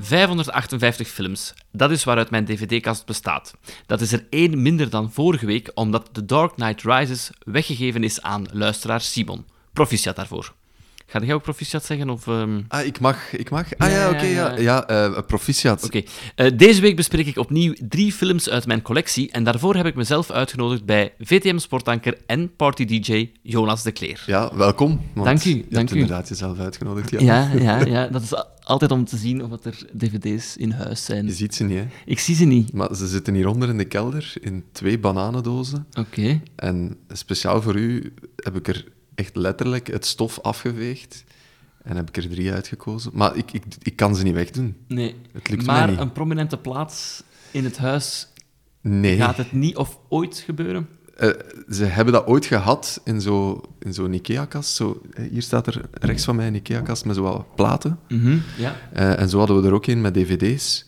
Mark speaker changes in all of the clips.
Speaker 1: 558 films. Dat is waaruit mijn dvd-kast bestaat. Dat is er één minder dan vorige week, omdat The Dark Knight Rises weggegeven is aan luisteraar Simon. Proficiat daarvoor. Ga jij ook proficiat zeggen? Of, ehm,
Speaker 2: Ah, ik mag. Ik mag. Ah ja,
Speaker 1: Ja,
Speaker 2: oké.
Speaker 1: ja,
Speaker 2: ja, ja eh, proficiat.
Speaker 1: Oké. Eh, deze week bespreek ik opnieuw drie films uit mijn collectie en daarvoor heb ik mezelf uitgenodigd bij VTM Sportanker en party-dj Jonas de Kleer.
Speaker 2: Ja, welkom. want
Speaker 1: Dank u,
Speaker 2: Je
Speaker 1: dank
Speaker 2: hebt
Speaker 1: u.
Speaker 2: inderdaad jezelf uitgenodigd. Ja.
Speaker 1: Ja, ja, ja. Dat is a- altijd om te zien of dat er dvd's in huis
Speaker 2: Je
Speaker 1: zijn.
Speaker 2: ziet ze niet, hè.
Speaker 1: Ik zie ze niet.
Speaker 2: Maar ze zitten hieronder in de kelder in twee bananendozen.
Speaker 1: Oké.
Speaker 2: En speciaal voor u heb ik er echt letterlijk het stof afgeveegd. En heb ik er drie uitgekozen. Maar ik, ik, ik kan ze niet wegdoen.
Speaker 1: Nee.
Speaker 2: Het lukt
Speaker 1: maar ehm,
Speaker 2: mij niet.
Speaker 1: een prominente plaats in het huis
Speaker 2: Nee.
Speaker 1: gaat het niet of ooit gebeuren.
Speaker 2: Eh, ze hebben dat ooit gehad in zo'n in zo'n IKEA-kast. Zo, eh, hier staat er rechts van mij een IKEA-kast met zo wat platen.
Speaker 1: Ja.
Speaker 2: Eh, en zo hadden we er ook een met dvd's.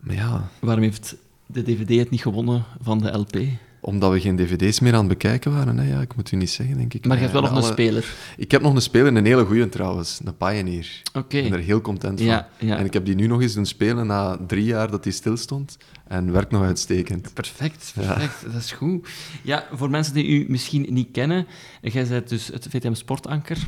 Speaker 2: Maar ja,
Speaker 1: Waarom heeft de dvd het niet gewonnen van de LP?
Speaker 2: omdat we geen dvd's meer aan het bekijken waren, hè, ja, ik moet u niet zeggen, denk ik.
Speaker 1: Maar je hebt wel
Speaker 2: Eh,
Speaker 1: nog een
Speaker 2: alle-
Speaker 1: speler.
Speaker 2: Ik heb nog een speler, een hele goeie trouwens, een Pioneer.
Speaker 1: Oké.
Speaker 2: Ik ben er heel content van.
Speaker 1: Ja, ja.
Speaker 2: En ik heb die nu nog eens doen spelen na drie jaar dat die stilstond. En werkt nog uitstekend.
Speaker 1: Perfect, perfect. Dat is goed. Ja, voor mensen die u misschien niet kennen, jij bent dus het VTM Sportanker.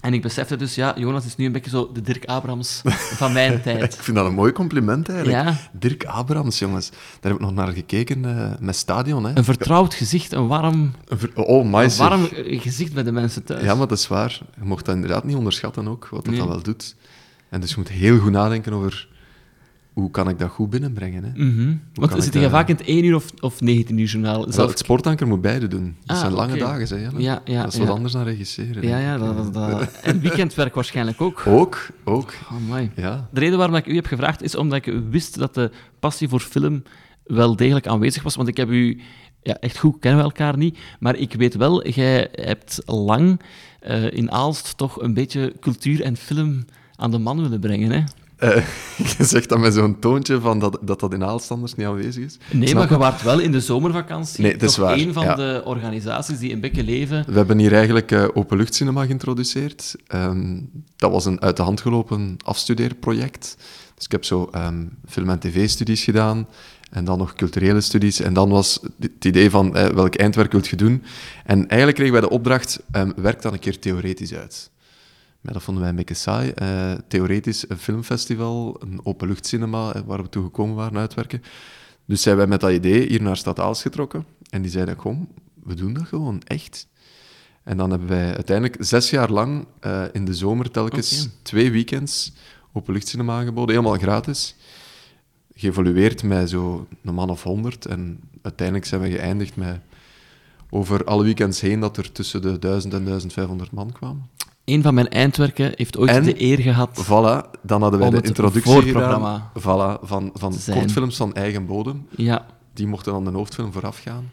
Speaker 1: En ik besefte dus, ja, Jonas is nu een beetje zo de Dirk Abrams van mijn tijd.
Speaker 2: Ik vind dat een mooi compliment eigenlijk.
Speaker 1: Ja.
Speaker 2: Dirk Abrams, jongens. Daar heb ik nog naar gekeken eh, met Stadion. Hè.
Speaker 1: Een vertrouwd gezicht, een warm,
Speaker 2: Een ver- Oh, my
Speaker 1: een warm eh, gezicht bij de mensen thuis.
Speaker 2: Ja, maar dat is waar. Je mocht dat inderdaad niet onderschatten ook, wat dat,
Speaker 1: Dus- Nee.
Speaker 2: dat wel doet. En dus je moet heel goed nadenken over hoe kan ik dat goed binnenbrengen. Hè.
Speaker 1: Mhm. Want
Speaker 2: kan
Speaker 1: we
Speaker 2: ik
Speaker 1: zitten
Speaker 2: dat-
Speaker 1: je vaak in het 1 uur of, of 19 uur journaal.
Speaker 2: Wel,
Speaker 1: Zelf...
Speaker 2: het sportanker moet beide doen. Dat
Speaker 1: Ah,
Speaker 2: zijn lange
Speaker 1: oké.
Speaker 2: dagen, zeg je.
Speaker 1: Ja, ja,
Speaker 2: dat is wat
Speaker 1: ja.
Speaker 2: anders dan regisseren.
Speaker 1: Ja,
Speaker 2: denk
Speaker 1: ja,
Speaker 2: ik,
Speaker 1: dat,
Speaker 2: hè.
Speaker 1: dat, dat- Oh. En weekendwerk waarschijnlijk ook.
Speaker 2: Ook, ook.
Speaker 1: Amai.
Speaker 2: Ja.
Speaker 1: De reden waarom ik u heb gevraagd is omdat ik wist dat de passie voor film wel degelijk aanwezig was. Want ik heb u, ja, echt goed kennen we elkaar niet, maar ik weet wel, jij hebt lang eh, in Aalst toch een beetje cultuur en film aan de man willen brengen. Hè?
Speaker 2: Eh, je zegt dat met zo'n toontje van dat, dat dat in Aalstanders niet aanwezig is.
Speaker 1: Nee,
Speaker 2: Snap
Speaker 1: maar
Speaker 2: ik.
Speaker 1: je waart wel in de zomervakantie
Speaker 2: Nee, het is
Speaker 1: toch
Speaker 2: waar,
Speaker 1: een van
Speaker 2: ja.
Speaker 1: de organisaties die een beetje leven.
Speaker 2: We hebben hier eigenlijk eh, openluchtcinema geïntroduceerd. Ehm, dat was een uit de hand gelopen afstudeerproject. Dus ik heb zo ehm, film- en tv-studies gedaan. En dan nog culturele studies. En dan was het idee van eh, welk eindwerk wilt je doen. En eigenlijk kregen wij de opdracht, ehm, werk dan een keer theoretisch uit. Maar dat vonden wij een beetje saai. Eh, theoretisch een filmfestival, een openluchtcinema, eh, waar we toe gekomen waren uitwerken. Dus zijn wij met dat idee hier naar Stad Aals getrokken. En die zeiden, kom, we doen dat gewoon, echt. En dan hebben wij uiteindelijk zes jaar lang eh, in de zomer telkens
Speaker 1: Oké.
Speaker 2: twee weekends openluchtcinema aangeboden, helemaal gratis. Geëvolueerd met zo'n man of honderd. En uiteindelijk zijn we geëindigd met over alle weekends heen dat er tussen de 1000 en 1500 man kwamen.
Speaker 1: Een van mijn eindwerken heeft ooit
Speaker 2: En?
Speaker 1: de eer gehad.
Speaker 2: Voilà, dan hadden wij
Speaker 1: Om
Speaker 2: de
Speaker 1: het
Speaker 2: introductie
Speaker 1: voorprogramma
Speaker 2: gedaan. Voilà, van, van
Speaker 1: te zijn.
Speaker 2: kortfilms van eigen bodem.
Speaker 1: Ja,
Speaker 2: Die mochten dan de hoofdfilm vooraf gaan.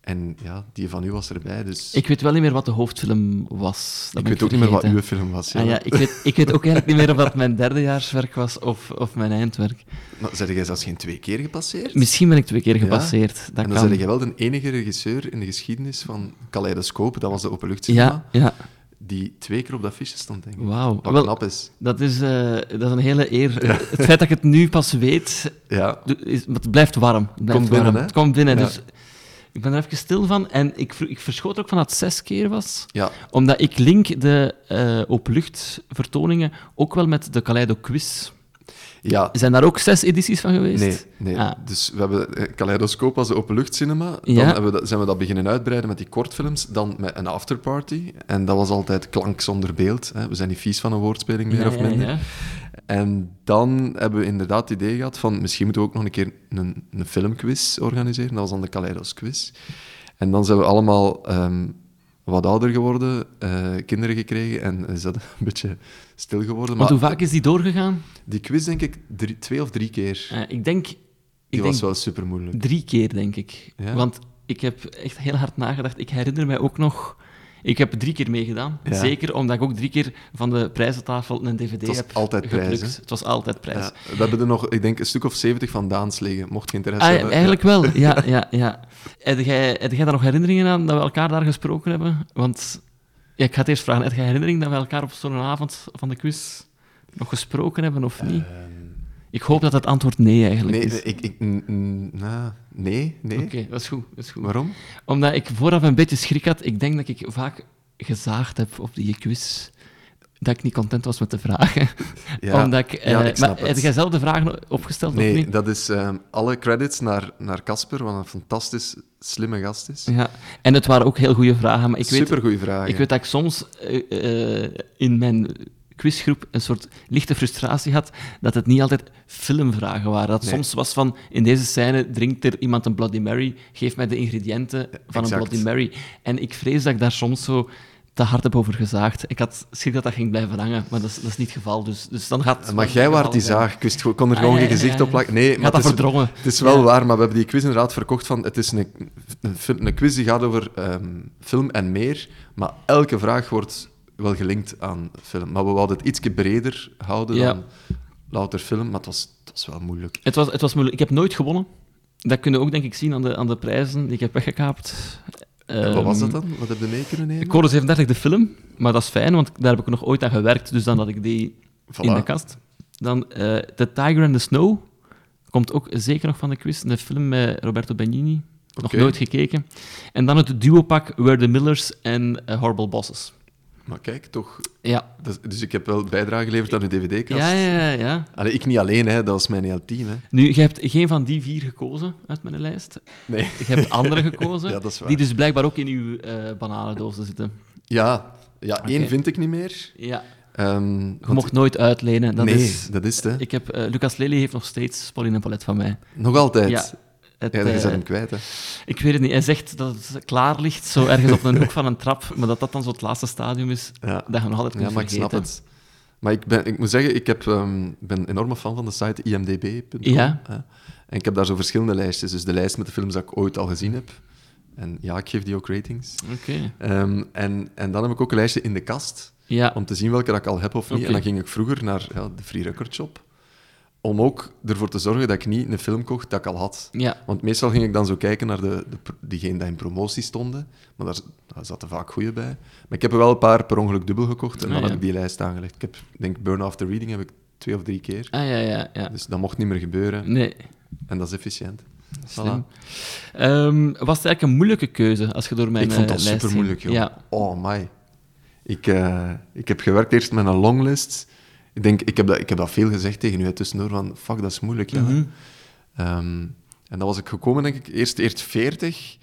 Speaker 2: En ja, die van u was erbij, dus
Speaker 1: ik weet wel niet meer wat de hoofdfilm was. Dat
Speaker 2: ik
Speaker 1: ben
Speaker 2: weet ook niet meer wat
Speaker 1: vergeten.
Speaker 2: uw film was. Ja.
Speaker 1: Ah ja, ik, weet, ik weet ook eigenlijk niet meer of dat mijn derdejaarswerk was of, of mijn eindwerk.
Speaker 2: Maar zijn jij zelfs geen twee keer gepasseerd?
Speaker 1: Misschien ben ik twee keer
Speaker 2: Ja?
Speaker 1: gepasseerd. Dat
Speaker 2: en dan
Speaker 1: kan.
Speaker 2: zijn jij wel de enige regisseur in de geschiedenis van Kaleidoscope, dat was de openluchtcinema,
Speaker 1: ja, ja,
Speaker 2: die twee keer op dat fiche stond, denk ik.
Speaker 1: wauw.
Speaker 2: Wat
Speaker 1: Wel,
Speaker 2: knap is.
Speaker 1: dat is, eh, dat is een hele eer. Het feit dat ik het nu pas weet,
Speaker 2: Ja,
Speaker 1: do- is, maar het blijft warm. Het blijft
Speaker 2: Komt
Speaker 1: warm.
Speaker 2: binnen, hè?
Speaker 1: Het komt binnen,
Speaker 2: Ja.
Speaker 1: dus ik ben er even stil van. En ik, vro- ik verschoot er ook van dat het zes keer was.
Speaker 2: ja.
Speaker 1: Omdat ik link de eh openluchtvertoningen ook wel met de Kaleido Quiz.
Speaker 2: ja.
Speaker 1: Zijn daar ook zes edities van geweest?
Speaker 2: Nee, nee.
Speaker 1: Ah.
Speaker 2: dus we hebben eh, Kaleidoscoop als de openluchtcinema. Dan
Speaker 1: Ja.
Speaker 2: hebben we dat, zijn we dat beginnen uitbreiden met die kortfilms, dan met een afterparty. En dat was altijd klank zonder beeld. Hè. We zijn niet vies van een woordspeling meer
Speaker 1: Ja,
Speaker 2: of
Speaker 1: ja,
Speaker 2: minder.
Speaker 1: ja.
Speaker 2: En dan hebben we inderdaad het idee gehad van misschien moeten we ook nog een keer een, een filmquiz organiseren. Dat was dan de Kaleidos quiz. En dan zijn we allemaal ehm, wat ouder geworden, eh, kinderen gekregen en is dat een beetje stil geworden.
Speaker 1: Want
Speaker 2: Maar
Speaker 1: hoe vaak is die doorgegaan?
Speaker 2: die quiz denk ik drie- twee of drie keer.
Speaker 1: Eh, ik denk, ik
Speaker 2: die
Speaker 1: denk
Speaker 2: was wel super moeilijk.
Speaker 1: drie keer, denk ik.
Speaker 2: Ja?
Speaker 1: Want ik heb echt heel hard nagedacht. Ik herinner mij ook nog... Ik heb drie keer meegedaan.
Speaker 2: Ja.
Speaker 1: Zeker omdat ik ook drie keer van de prijzentafel een dvd
Speaker 2: Het was
Speaker 1: heb
Speaker 2: altijd prijs,
Speaker 1: geplukt.
Speaker 2: hè?
Speaker 1: Het was altijd prijs.
Speaker 2: Ja, we hebben er nog, ik denk, een stuk of 70 van Daans liggen, mocht je interesse
Speaker 1: Ah, ja,
Speaker 2: hebben.
Speaker 1: eigenlijk wel, ja. ja, ja. Heb, jij, heb jij daar nog herinneringen aan dat we elkaar daar gesproken hebben? Want ja, ik ga het eerst vragen. Heb jij herinnering dat we elkaar op zo'n avond van de quiz nog gesproken hebben of niet?
Speaker 2: Ehm,
Speaker 1: Ik hoop dat het antwoord nee eigenlijk
Speaker 2: Nee,
Speaker 1: is.
Speaker 2: ik, ik, n- n- na- nee, nee.
Speaker 1: Oké, dat is goed. Dat is goed.
Speaker 2: Waarom?
Speaker 1: Omdat ik vooraf een beetje schrik had. Ik denk dat ik vaak gezaagd heb op die quiz. Dat ik niet content was met de vragen.
Speaker 2: Ja,
Speaker 1: Omdat ik, eh,
Speaker 2: ja, ik snap
Speaker 1: maar
Speaker 2: het.
Speaker 1: heb jij zelf de vragen opgesteld
Speaker 2: nee,
Speaker 1: of niet?
Speaker 2: dat is ehm, alle credits naar naar Casper, wat een fantastisch slimme gast is.
Speaker 1: Ja. En het waren ook heel goede vragen, maar ik weet,
Speaker 2: Supergoeie vragen.
Speaker 1: ik weet dat ik soms eh, eh, in mijn quizgroep een soort lichte frustratie had dat het niet altijd filmvragen waren. Dat het
Speaker 2: Nee.
Speaker 1: soms was van, in deze scène drinkt er iemand een Bloody Mary, geef mij de ingrediënten van een
Speaker 2: Eh, exact.
Speaker 1: Bloody Mary. En ik vrees dat ik daar soms zo te hard heb over gezaagd. Ik had schrik dat dat ging blijven hangen, maar dat is, dat is niet het geval. Dus, dus dan gaat het
Speaker 2: Ah, Maar
Speaker 1: wel
Speaker 2: jij
Speaker 1: het
Speaker 2: waart
Speaker 1: geval
Speaker 2: die
Speaker 1: zijn.
Speaker 2: zaag. Ik wist gewoon- kon er
Speaker 1: Ah,
Speaker 2: gewoon
Speaker 1: ja,
Speaker 2: geen
Speaker 1: ja,
Speaker 2: gezicht
Speaker 1: ja,
Speaker 2: op plakken.
Speaker 1: Ik
Speaker 2: Nee,
Speaker 1: had
Speaker 2: maar
Speaker 1: dat
Speaker 2: het is,
Speaker 1: verdrongen.
Speaker 2: het is wel
Speaker 1: Ja.
Speaker 2: waar, maar we hebben die quiz inderdaad verkocht van... Het is een, een, fil- een quiz die gaat over ehm, film en meer, maar elke vraag wordt wel gelinkt aan film. Maar we wilden het ietsje breder houden
Speaker 1: Ja.
Speaker 2: dan louter film, maar het was, het was wel moeilijk.
Speaker 1: Het was, het was moeilijk. Ik heb nooit gewonnen. Dat kunnen we ook, denk ik, zien aan de, aan de prijzen die ik heb weggekaapt.
Speaker 2: En wat
Speaker 1: Ehm,
Speaker 2: was dat dan? Wat heb je mee kunnen nemen?
Speaker 1: Code 37, de film. Maar dat is fijn, want daar heb ik nog ooit aan gewerkt. Dus dan had ik die
Speaker 2: Voilà.
Speaker 1: in de kast. Dan eh, The Tiger and the Snow. Komt ook zeker nog van de quiz. De film met Roberto Benigni.
Speaker 2: Oké.
Speaker 1: Nog nooit gekeken. En dan het duopak Were the Millers en eh, Horrible Bosses.
Speaker 2: Maar kijk, toch...
Speaker 1: Ja.
Speaker 2: dat is- dus ik heb wel bijdrage geleverd aan uw dvd-kast.
Speaker 1: Ja, ja, ja, ja.
Speaker 2: Allee, ik niet alleen, hè. dat was mijn hele team. Hè.
Speaker 1: Nu, je hebt geen van die vier gekozen uit mijn lijst.
Speaker 2: Nee.
Speaker 1: Je hebt andere gekozen.
Speaker 2: Ja, dat is waar.
Speaker 1: Die dus blijkbaar ook in uw eh bananendozen zitten.
Speaker 2: Ja, ja één
Speaker 1: Oké.
Speaker 2: vind ik niet meer.
Speaker 1: Ja,
Speaker 2: Ehm,
Speaker 1: je
Speaker 2: want-
Speaker 1: mocht nooit uitlenen. Dat
Speaker 2: nee,
Speaker 1: is,
Speaker 2: dat is het. hè.
Speaker 1: ik heb, eh, Lucas Lely heeft nog steeds Pauline en Palet van mij.
Speaker 2: Nog altijd.
Speaker 1: Ja, Het,
Speaker 2: Ja, dat is
Speaker 1: eh,
Speaker 2: hem kwijt. Hè.
Speaker 1: ik weet het niet. Hij zegt dat het klaar ligt, zo ergens op een hoek van een trap, maar dat dat dan zo het laatste stadium is,
Speaker 2: Ja.
Speaker 1: dat je nog altijd
Speaker 2: ja,
Speaker 1: kunt
Speaker 2: maar ik
Speaker 1: vergeten.
Speaker 2: snap het. Maar ik, ben, ik moet zeggen, ik heb, ehm, ben een enorme fan van de site imdb.com.
Speaker 1: Ja.
Speaker 2: hè. En ik heb daar zo verschillende lijstjes. Dus de lijst met de films dat ik ooit al gezien heb. En ja, ik geef die ook ratings.
Speaker 1: Oké.
Speaker 2: Ehm, en, en dan heb ik ook een lijstje in de kast.
Speaker 1: Ja,
Speaker 2: Om te zien welke dat ik al heb of niet.
Speaker 1: Oké.
Speaker 2: En dan ging ik vroeger naar ja, de Free Record Shop. Om ook ervoor te zorgen dat ik niet een film kocht dat ik al had.
Speaker 1: ja,
Speaker 2: Want meestal ging ik dan zo kijken naar de, de, pro- diegenen die in promotie stonden, maar daar, daar zaten vaak goeie bij. Maar ik heb er wel een paar per ongeluk dubbel gekocht en
Speaker 1: Ah,
Speaker 2: dan
Speaker 1: ja.
Speaker 2: heb ik die lijst aangelegd. Ik heb, denk Burn After Reading heb ik twee of drie keer.
Speaker 1: ah, ja, ja, ja.
Speaker 2: Dus dat mocht niet meer gebeuren
Speaker 1: Nee,
Speaker 2: en dat is efficiënt.
Speaker 1: slim. Ehm, was het eigenlijk een moeilijke keuze als je door mijn
Speaker 2: ik vond
Speaker 1: eh,
Speaker 2: dat
Speaker 1: lijst ging?
Speaker 2: super moeilijk, joh.
Speaker 1: Ja.
Speaker 2: Oh my. Ik, eh, ik heb gewerkt eerst met een longlist. Ik denk, ik heb dat, ik heb dat veel gezegd tegen u hè, tussendoor, van fuck, dat is moeilijk. ja.
Speaker 1: Mhm.
Speaker 2: Ehm, en dan was ik gekomen, denk ik, eerst, eerst 40.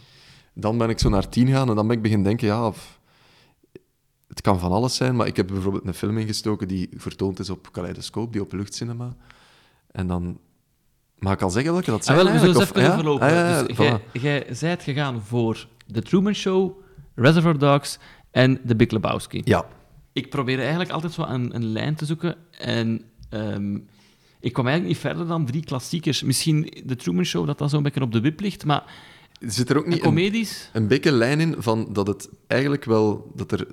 Speaker 2: Dan ben ik zo naar 10 gaan en dan ben ik beginnen denken, ja, f- het kan van alles zijn. Maar ik heb bijvoorbeeld een film ingestoken die vertoond is op Kaleidoscoop, die op luchtcinema. En dan... Mag ik al zeggen welke dat
Speaker 1: Ah,
Speaker 2: zijn
Speaker 1: wel, we zullen eens
Speaker 2: eigenlijk?
Speaker 1: even overlopen.
Speaker 2: Of- ja? Ah, ja, ja,
Speaker 1: dus jij-
Speaker 2: voilà.
Speaker 1: jij zijt gegaan voor The Truman Show, Reservoir Dogs en The Big Lebowski.
Speaker 2: Ja,
Speaker 1: Ik probeerde eigenlijk altijd zo een, een lijn te zoeken en ehm, ik kwam eigenlijk niet verder dan drie klassiekers. Misschien The Truman Show, dat dan zo'n beetje op de wip ligt, maar
Speaker 2: Zit er ook
Speaker 1: een
Speaker 2: niet een,
Speaker 1: comedies?
Speaker 2: een beetje lijn in van dat het eigenlijk wel... Dat er,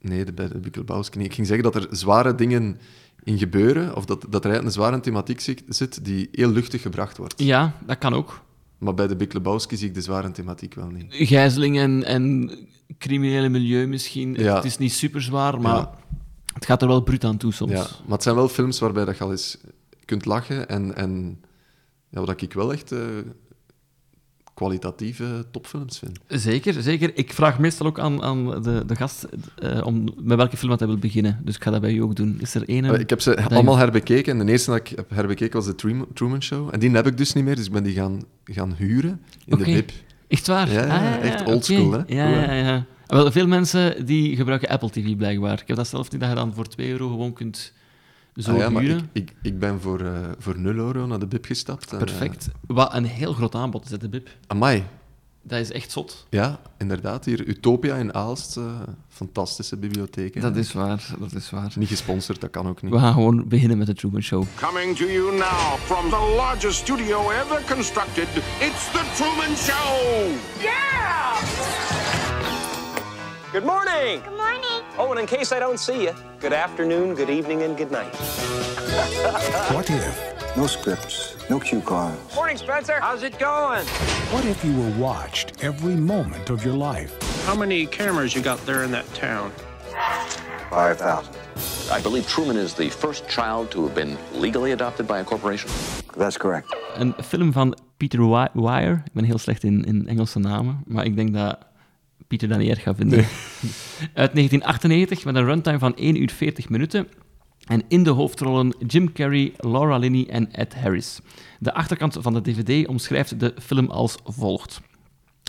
Speaker 2: nee, de- bij de Bikkelbouwski niet. Ik ging zeggen dat er zware dingen in gebeuren, of dat, dat er eigenlijk een zware thematiek zi- zit die heel luchtig gebracht wordt.
Speaker 1: Ja, dat kan ook.
Speaker 2: Maar bij de Big Lebowski zie ik de zware thematiek wel niet.
Speaker 1: Gijzeling en, en criminele milieu misschien.
Speaker 2: Ja.
Speaker 1: Het is niet super zwaar, maar
Speaker 2: Ja.
Speaker 1: het gaat er wel bruut aan toe soms.
Speaker 2: Ja, maar het zijn wel films waarbij dat je al eens kunt lachen. En, en ja, wat ik wel echt eh, kwalitatieve topfilms vind.
Speaker 1: Zeker, zeker. Ik vraag meestal ook aan, aan de, de gast eh, om met welke film dat hij wil beginnen. Dus ik ga dat bij u ook doen. Is er één?
Speaker 2: Eh, Ik heb ze
Speaker 1: je-
Speaker 2: allemaal herbekeken. En de eerste dat ik heb herbekeken was de Truman- Truman Show. En die heb ik dus niet meer, dus ik ben die gaan, gaan huren in
Speaker 1: Oké.
Speaker 2: de WIP.
Speaker 1: Echt waar?
Speaker 2: Ja, ja, echt
Speaker 1: oké.
Speaker 2: oldschool, hè?
Speaker 1: Ja,
Speaker 2: Goed,
Speaker 1: ja, ja. Wel, veel mensen die gebruiken Apple TV blijkbaar. Ik heb dat zelf niet, dat je dan voor 2 euro gewoon kunt zo
Speaker 2: Ah ja, maar
Speaker 1: huren.
Speaker 2: ik, ik, ik ben voor, eh, voor 0 euro naar de WIP gestapt. En, eh,
Speaker 1: Perfect. Wat een heel groot aanbod is, hè, de Bib.
Speaker 2: amai.
Speaker 1: Dat is echt zot.
Speaker 2: Ja, inderdaad. Hier, Utopia in Aalst. eh, fantastische bibliotheek. hè.
Speaker 1: waar, dat is waar.
Speaker 2: Niet gesponsord, dat kan ook niet.
Speaker 1: We gaan gewoon beginnen met de Truman Show.
Speaker 3: Coming to you now from the largest studio ever constructed, it's The Truman Show!
Speaker 4: Yeah!
Speaker 5: Good morning.
Speaker 4: Good morning.
Speaker 5: Oh, and in case I don't see you, good afternoon, good evening, and good night.
Speaker 6: What if?
Speaker 7: No scripts, no cue cards.
Speaker 5: Morning, Spencer. How's it going?
Speaker 6: What if you were watched every moment of your life?
Speaker 8: How many cameras you got there in that town?
Speaker 7: 5,000.
Speaker 4: I believe Truman is the first child to have been legally adopted by a corporation.
Speaker 7: That's correct.
Speaker 1: Een film van Peter Wi- Weir. Ik ben heel slecht in, in Engelse namen, maar ik denk dat Peter dat niet erg gaat vinden. Uit 1998 met een runtime van 1 uur 40 minuten. En in de hoofdrollen Jim Carrey, Laura Linney en Ed Harris. De achterkant van de DVD omschrijft de film als volgt.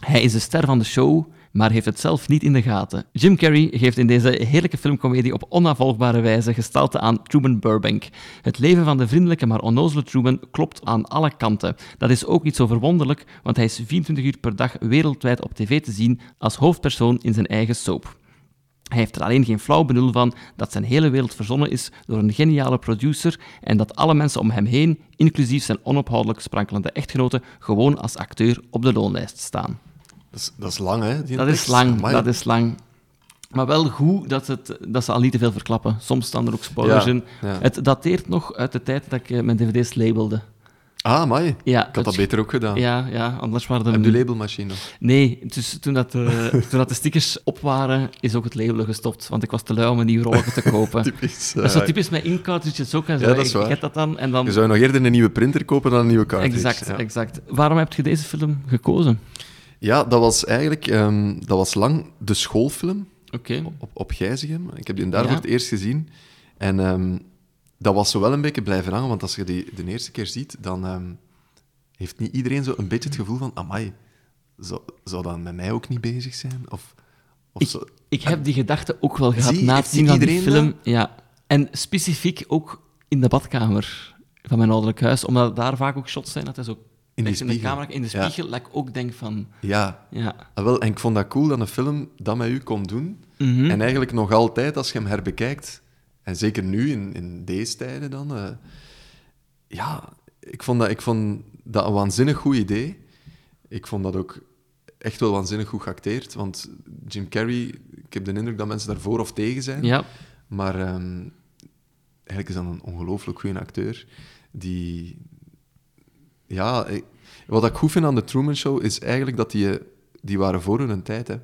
Speaker 1: Hij is de ster van de show, maar heeft het zelf niet in de gaten. Jim Carrey geeft in deze heerlijke filmcomedie op onafvolgbare wijze gestalte aan Truman Burbank. Het leven van de vriendelijke maar onnozele Truman klopt aan alle kanten. Dat is ook niet zo verwonderlijk, want hij is 24 uur per dag wereldwijd op tv te zien als hoofdpersoon in zijn eigen soap. Hij heeft er alleen geen flauw benul van dat zijn hele wereld verzonnen is door een geniale producer en dat alle mensen om hem heen, inclusief zijn onophoudelijk sprankelende echtgenoten, gewoon als acteur op de loonlijst staan.
Speaker 2: Dat is, dat is lang, hè? die
Speaker 1: Dat is
Speaker 2: tekst.
Speaker 1: lang,
Speaker 2: Amai.
Speaker 1: dat is lang. Maar wel goed dat, het, dat ze al niet te veel verklappen. Soms staan er ook spoilers
Speaker 2: Ja,
Speaker 1: in.
Speaker 2: ja.
Speaker 1: Het dateert nog uit de tijd dat ik eh, mijn dvd's labelde.
Speaker 2: Ah, mooi.
Speaker 1: Ja,
Speaker 2: ik had dat
Speaker 1: het-
Speaker 2: beter ook gedaan.
Speaker 1: Ja, ja anders waren
Speaker 2: Heb
Speaker 1: de...
Speaker 2: je labelmachine nog?
Speaker 1: Nee, dus toen, dat, eh, toen dat de stickers op waren, is ook het labelen gestopt. Want ik was te lui om een nieuw rolletje te kopen.
Speaker 2: Typisch,
Speaker 1: Dat is zo
Speaker 2: eh.
Speaker 1: typisch met incartridges ook. hè. Zo,
Speaker 2: Ja, dat is
Speaker 1: ik- ik
Speaker 2: waar.
Speaker 1: heb dat dan en dan...
Speaker 2: Je zou nog eerder een nieuwe printer kopen dan een nieuwe cartridge.
Speaker 1: Exact,
Speaker 2: ja.
Speaker 1: exact. Waarom heb je deze film gekozen?
Speaker 2: Ja, dat was eigenlijk ehm, dat was lang de schoolfilm
Speaker 1: Oké.
Speaker 2: op, op Gijzegem. Ik heb die daar
Speaker 1: Mhm. Ja.
Speaker 2: voor het eerst gezien. En ehm, dat was zo wel een beetje blijven hangen, want als je die de eerste keer ziet, dan ehm, heeft niet iedereen zo een beetje het gevoel van amai, zou, zou dat met mij ook niet bezig zijn? Of, of
Speaker 1: Ik,
Speaker 2: zo.
Speaker 1: ik heb die gedachte ook wel gehad
Speaker 2: zie-
Speaker 1: na het
Speaker 2: heeft
Speaker 1: zien van die
Speaker 2: iedereen
Speaker 1: film. Ja. En specifiek ook in de badkamer van mijn ouderlijk huis, omdat daar vaak ook shots zijn dat hij zo
Speaker 2: die
Speaker 1: echt in de
Speaker 2: spiegel.
Speaker 1: camera, in de
Speaker 2: Ja.
Speaker 1: spiegel, dat ik ook denk van,
Speaker 2: Ja,
Speaker 1: ja,
Speaker 2: Ah, wel, en ik vond dat cool dat een film dat met u kon doen.
Speaker 1: Mhm.
Speaker 2: En eigenlijk nog altijd, als je hem herbekijkt, en zeker nu, in, in deze tijden dan... eh, ja, ik vond, dat, ik vond dat een waanzinnig goed idee. Ik vond dat ook echt wel waanzinnig goed geacteerd. Want Jim Carrey, ik heb de indruk dat mensen daar voor of tegen zijn.
Speaker 1: ja,
Speaker 2: Maar ehm, eigenlijk is dat een ongelooflijk goede acteur. Die. Ja, ik- wat ik goed vind aan de Truman Show is eigenlijk dat die. eh, Die waren voor hun tijd. Hè.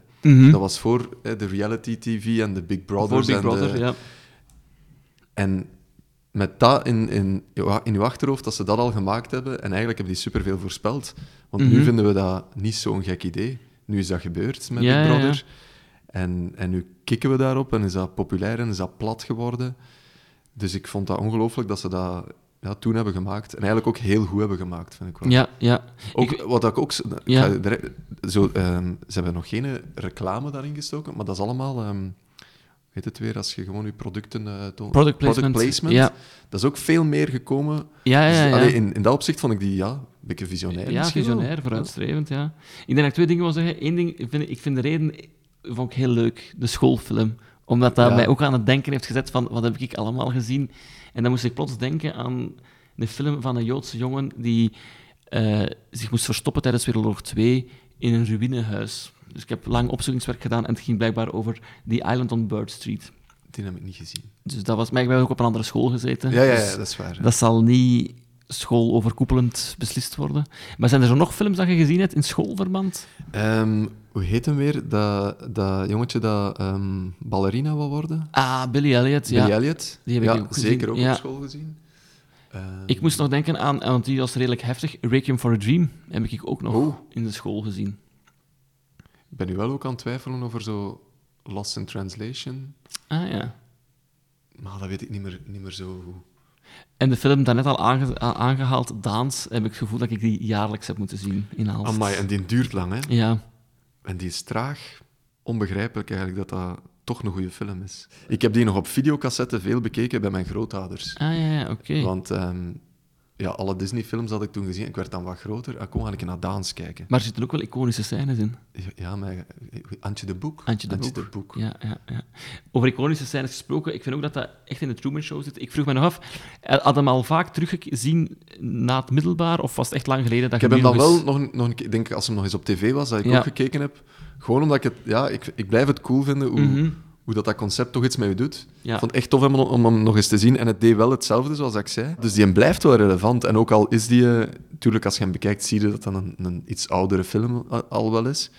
Speaker 2: Dat was voor eh, de reality TV en de Big Brothers.
Speaker 1: Mhm. voor Big
Speaker 2: en
Speaker 1: Brother,
Speaker 2: de-
Speaker 1: ja.
Speaker 2: en met dat in, in, in uw achterhoofd, dat ze dat al gemaakt hebben, en eigenlijk hebben die superveel voorspeld. Want
Speaker 1: Mhm.
Speaker 2: nu vinden we dat niet zo'n gek idee. Nu is dat gebeurd met
Speaker 1: Ja,
Speaker 2: Big
Speaker 1: ja, ja.
Speaker 2: Brother. En, en nu kikken we daarop en is dat populair en is dat plat geworden. Dus ik vond dat ongelooflijk dat ze dat ja, toen hebben gemaakt. En eigenlijk ook heel goed hebben gemaakt, vind ik wel.
Speaker 1: Ja, ja.
Speaker 2: Ook,
Speaker 1: Ik-
Speaker 2: wat ik ook... z- ik
Speaker 1: Ja.
Speaker 2: ga direct- zo, ehm, ze hebben nog geen reclame daarin gestoken, maar dat is allemaal... ehm, hoe heet het weer? Als je gewoon je producten... eh, toont-
Speaker 1: Product placement, ja.
Speaker 2: Dat is ook veel meer gekomen. Dus,
Speaker 1: Ja, ja, ja.
Speaker 2: allee, in, in dat opzicht vond ik die, ja, een beetje visionair
Speaker 1: Ja,
Speaker 2: misschien wel.
Speaker 1: visionair, vooruitstrevend, ja. Ik denk dat ik twee dingen wil zeggen. Eén ding, vind, ik- ik vind de reden vond ik heel leuk, de schoolfilm. Omdat dat
Speaker 2: Ja.
Speaker 1: mij ook aan het denken heeft gezet van wat heb ik allemaal gezien. En dan moest ik plots denken aan de film van een Joodse jongen die eh, zich moest verstoppen tijdens Wereldoorlog 2 in een ruïnehuis. Dus ik heb lang opzoekingswerk gedaan en het ging blijkbaar over The Island on Bird Street.
Speaker 2: Die heb ik niet gezien.
Speaker 1: Dus dat was... Maar ik ben ook op een andere school gezeten.
Speaker 2: Ja, ja,
Speaker 1: Dus-
Speaker 2: ja dat is waar.
Speaker 1: dat zal niet schooloverkoepelend beslist worden. Maar zijn er zo nog films dat je gezien hebt in schoolverband?
Speaker 2: Ehm, hoe heet hem weer? Dat, dat jongetje dat ehm, ballerina wil worden?
Speaker 1: Ah, Billy Elliot, ja.
Speaker 2: Billy Elliot?
Speaker 1: Die heb ik
Speaker 2: ja,
Speaker 1: ook gezien,
Speaker 2: zeker ook
Speaker 1: ja.
Speaker 2: op school gezien. Ehm,
Speaker 1: Ik moest nog denken aan, want die was redelijk heftig, Requiem for a Dream heb ik ook nog
Speaker 2: Oh.
Speaker 1: in de school gezien.
Speaker 2: Ik ben nu wel ook aan het twijfelen over zo Lost in Translation.
Speaker 1: Ah ja.
Speaker 2: Maar dat weet ik niet meer, niet meer zo goed.
Speaker 1: En de film daarnet al aange- a- aangehaald, Daans, heb ik het gevoel dat ik die jaarlijks heb moeten zien in Aalst.
Speaker 2: Amai, en die duurt lang, hè?
Speaker 1: Ja.
Speaker 2: En die is traag. Onbegrijpelijk eigenlijk dat dat toch een goede film is. Ik heb die nog op videocassette veel bekeken bij mijn grootouders.
Speaker 1: Ah ja, ja, oké.
Speaker 2: Want ehm, ja, alle Disney-films had ik toen gezien. Ik werd dan wat groter. Ah, kom, ga ik naar Daans kijken.
Speaker 1: Maar er zitten ook wel iconische scènes in.
Speaker 2: Ja, maar eh, Antje de Boek.
Speaker 1: Antje de Boek. Ja, ja, ja. Over iconische scènes gesproken, ik vind ook dat dat echt in de Truman Show zit. Ik vroeg me nog af, eh, had hem al vaak teruggezien na het middelbaar, of was het echt lang geleden dat
Speaker 2: Ik heb
Speaker 1: je
Speaker 2: hem
Speaker 1: nu
Speaker 2: dan
Speaker 1: nog
Speaker 2: wel
Speaker 1: eens-
Speaker 2: nog, nog een keer, denk ik, als hem nog eens op tv was, dat ik
Speaker 1: Ja.
Speaker 2: ook gekeken heb. Gewoon omdat ik het, ja, ik, ik blijf het cool vinden hoe, hoe dat, dat concept toch iets met je doet.
Speaker 1: Mhm. Ja.
Speaker 2: Ik vond het echt tof om, om hem nog eens te zien. En het deed wel hetzelfde, zoals ik zei. Dus die blijft wel relevant. En ook al is die, natuurlijk, als je hem bekijkt, zie je dat dat een, een iets oudere film al- al wel is.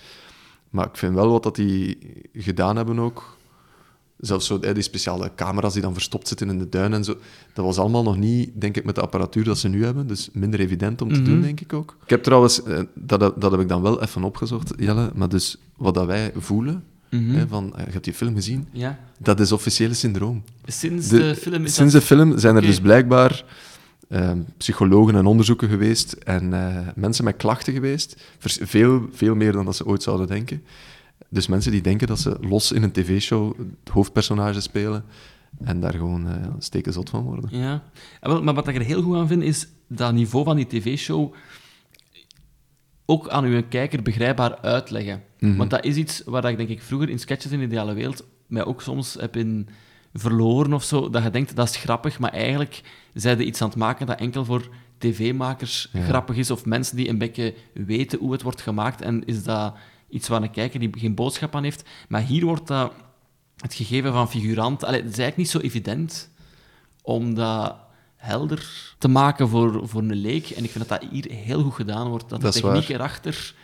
Speaker 2: Maar ik vind wel wat dat die gedaan hebben ook. Zelfs zo, eh, die speciale camera's die dan verstopt zitten in de duin en zo. Dat was allemaal nog niet, denk ik, met de apparatuur dat ze nu hebben. Dus minder evident om te doen, denk ik ook. Ik heb trouwens, eh, dat, heb- dat heb ik dan wel even opgezocht, Jelle. Maar dus wat dat wij voelen, hè, van, eh, je hebt die film gezien,
Speaker 1: Ja.
Speaker 2: dat is officiële syndroom.
Speaker 1: Sinds de,
Speaker 2: De-
Speaker 1: film is
Speaker 2: sinds
Speaker 1: dat...
Speaker 2: de film zijn er
Speaker 1: Oké.
Speaker 2: dus blijkbaar ehm, psychologen en onderzoeken geweest en eh, mensen met klachten geweest. Vers- veel, veel meer dan dat ze ooit zouden denken. Dus mensen die denken dat ze los in een tv-show het hoofdpersonage spelen en daar gewoon eh steken zot van worden.
Speaker 1: Ja. En wel, maar wat ik er heel goed aan vind, is dat niveau van die tv-show ook aan uw kijker begrijpbaar uitleggen. Want dat is iets waar ik denk ik vroeger in sketches in de ideale wereld mij ook soms heb in verloren of zo. Dat je denkt, dat is grappig, maar eigenlijk zijn ze iets aan het maken dat enkel voor tv-makers grappig is of mensen die een beetje weten hoe het wordt gemaakt. En is dat iets waar een kijker die geen boodschap aan heeft. Maar hier wordt dat het gegeven van figurant... Allee, het is eigenlijk niet zo evident om dat helder te maken voor, voor een leek. En ik vind dat dat hier heel goed gedaan wordt. Dat,
Speaker 2: Dat
Speaker 1: de
Speaker 2: is
Speaker 1: techniek
Speaker 2: waar.
Speaker 1: erachter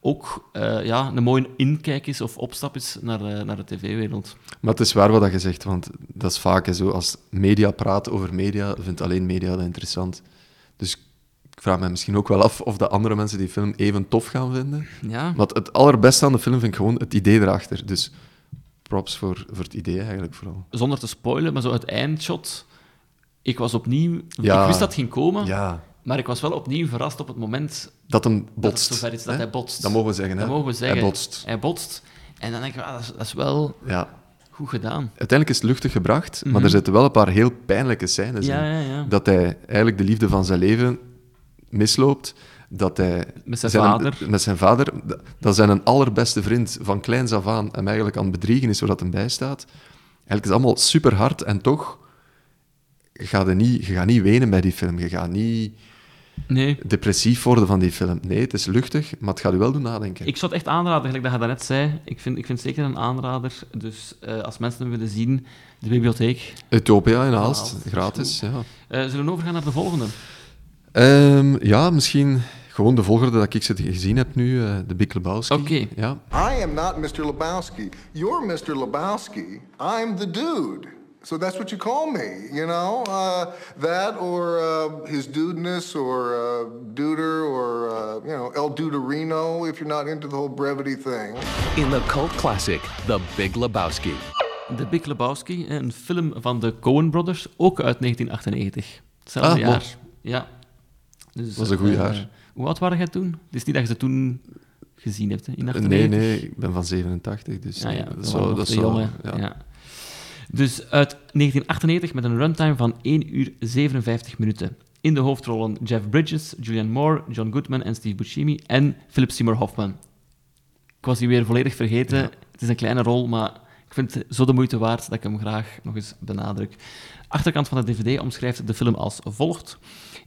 Speaker 1: ook eh, ja, een mooie inkijk is of opstap is naar, eh, naar de tv-wereld.
Speaker 2: Maar het is waar wat je zegt, want dat is vaak hè, zo. Als media praat over media, vindt alleen media dat interessant. Dus ik vraag me misschien ook wel af of de andere mensen die film even tof gaan vinden.
Speaker 1: Ja.
Speaker 2: Want het allerbeste aan de film vind ik gewoon het idee erachter. Dus props voor, voor het idee eigenlijk vooral.
Speaker 1: Zonder te spoilen, maar zo het eindshot. Ik was opnieuw...
Speaker 2: Ja.
Speaker 1: Ik wist dat het ging komen,
Speaker 2: Ja,
Speaker 1: maar ik was wel opnieuw verrast op het moment
Speaker 2: dat hem
Speaker 1: dat
Speaker 2: botst.
Speaker 1: het zover is dat
Speaker 2: hè?
Speaker 1: hij botst.
Speaker 2: Dat mogen we zeggen, hè?
Speaker 1: Dat mogen we zeggen.
Speaker 2: Hij botst.
Speaker 1: Hij botst. En dan denk ik, ah, dat, is, dat is wel
Speaker 2: Ja.
Speaker 1: goed gedaan.
Speaker 2: Uiteindelijk is het luchtig gebracht, maar er zitten wel een paar heel pijnlijke scènes
Speaker 1: Mhm. Ja,
Speaker 2: in.
Speaker 1: ja, ja.
Speaker 2: Dat hij eigenlijk de liefde van zijn leven misloopt. Dat hij
Speaker 1: Met zijn vader.
Speaker 2: Met zijn vader. d- Dat zijn een allerbeste vriend van kleins af aan hem eigenlijk aan het bedriegen is, zodat hem bijstaat. Eigenlijk is het allemaal super hard en toch... Je gaat, er niet, je gaat niet wenen bij die film. Je gaat niet...
Speaker 1: Nee.
Speaker 2: depressief worden van die film. Nee, het is luchtig, maar het gaat u wel doen nadenken.
Speaker 1: Ik zou het echt aanraden, gelijk dat je daarnet zei. Ik vind, ik vind het zeker een aanrader. Dus eh, als mensen hem willen zien, de bibliotheek.
Speaker 2: Utopia in Aalst,
Speaker 1: Aalst,
Speaker 2: gratis. Ja.
Speaker 1: Eh, zullen we overgaan naar de volgende?
Speaker 2: Ehm, ja, misschien gewoon de volgorde dat ik ze gezien heb nu, eh, de Big Lebowski.
Speaker 1: Oké.
Speaker 2: Ja.
Speaker 8: I am not Mr. Lebowski. You're Mr. Lebowski. I'm the dude. So that's what you call me, you know? Uh, that or uh, his dudeness or uh, duder or, uh, you know, El Duderino if you're not into the whole brevity thing.
Speaker 9: In the cult classic, The Big Lebowski.
Speaker 1: The Big Lebowski, een film van de Coen Brothers, ook uit 1998. Hetzelfde
Speaker 2: Ah,
Speaker 1: jaar.
Speaker 2: mooi.
Speaker 1: Ja. Dus,
Speaker 2: was een goed
Speaker 1: eh,
Speaker 2: jaar.
Speaker 1: Hoe oud waren jij toen? Het is niet dat je ze toen gezien hebt, hè, in 98.
Speaker 2: Nee, nee, ik ben van 87, dus
Speaker 1: Ja, ja,
Speaker 2: nee,
Speaker 1: dat
Speaker 2: dat
Speaker 1: was
Speaker 2: is wel-
Speaker 1: nog
Speaker 2: dat
Speaker 1: de
Speaker 2: is wel-
Speaker 1: jongen.
Speaker 2: ja.
Speaker 1: Ja. Dus uit 1998 met een runtime van 1 uur 57 minuten. In de hoofdrollen Jeff Bridges, Julianne Moore, John Goodman en Steve Buscemi en Philip Seymour Hoffman. Ik was die weer volledig vergeten. Het is een kleine rol, maar ik vind het zo de moeite waard dat ik hem graag nog eens benadruk. Achterkant van de DVD omschrijft de film als volgt.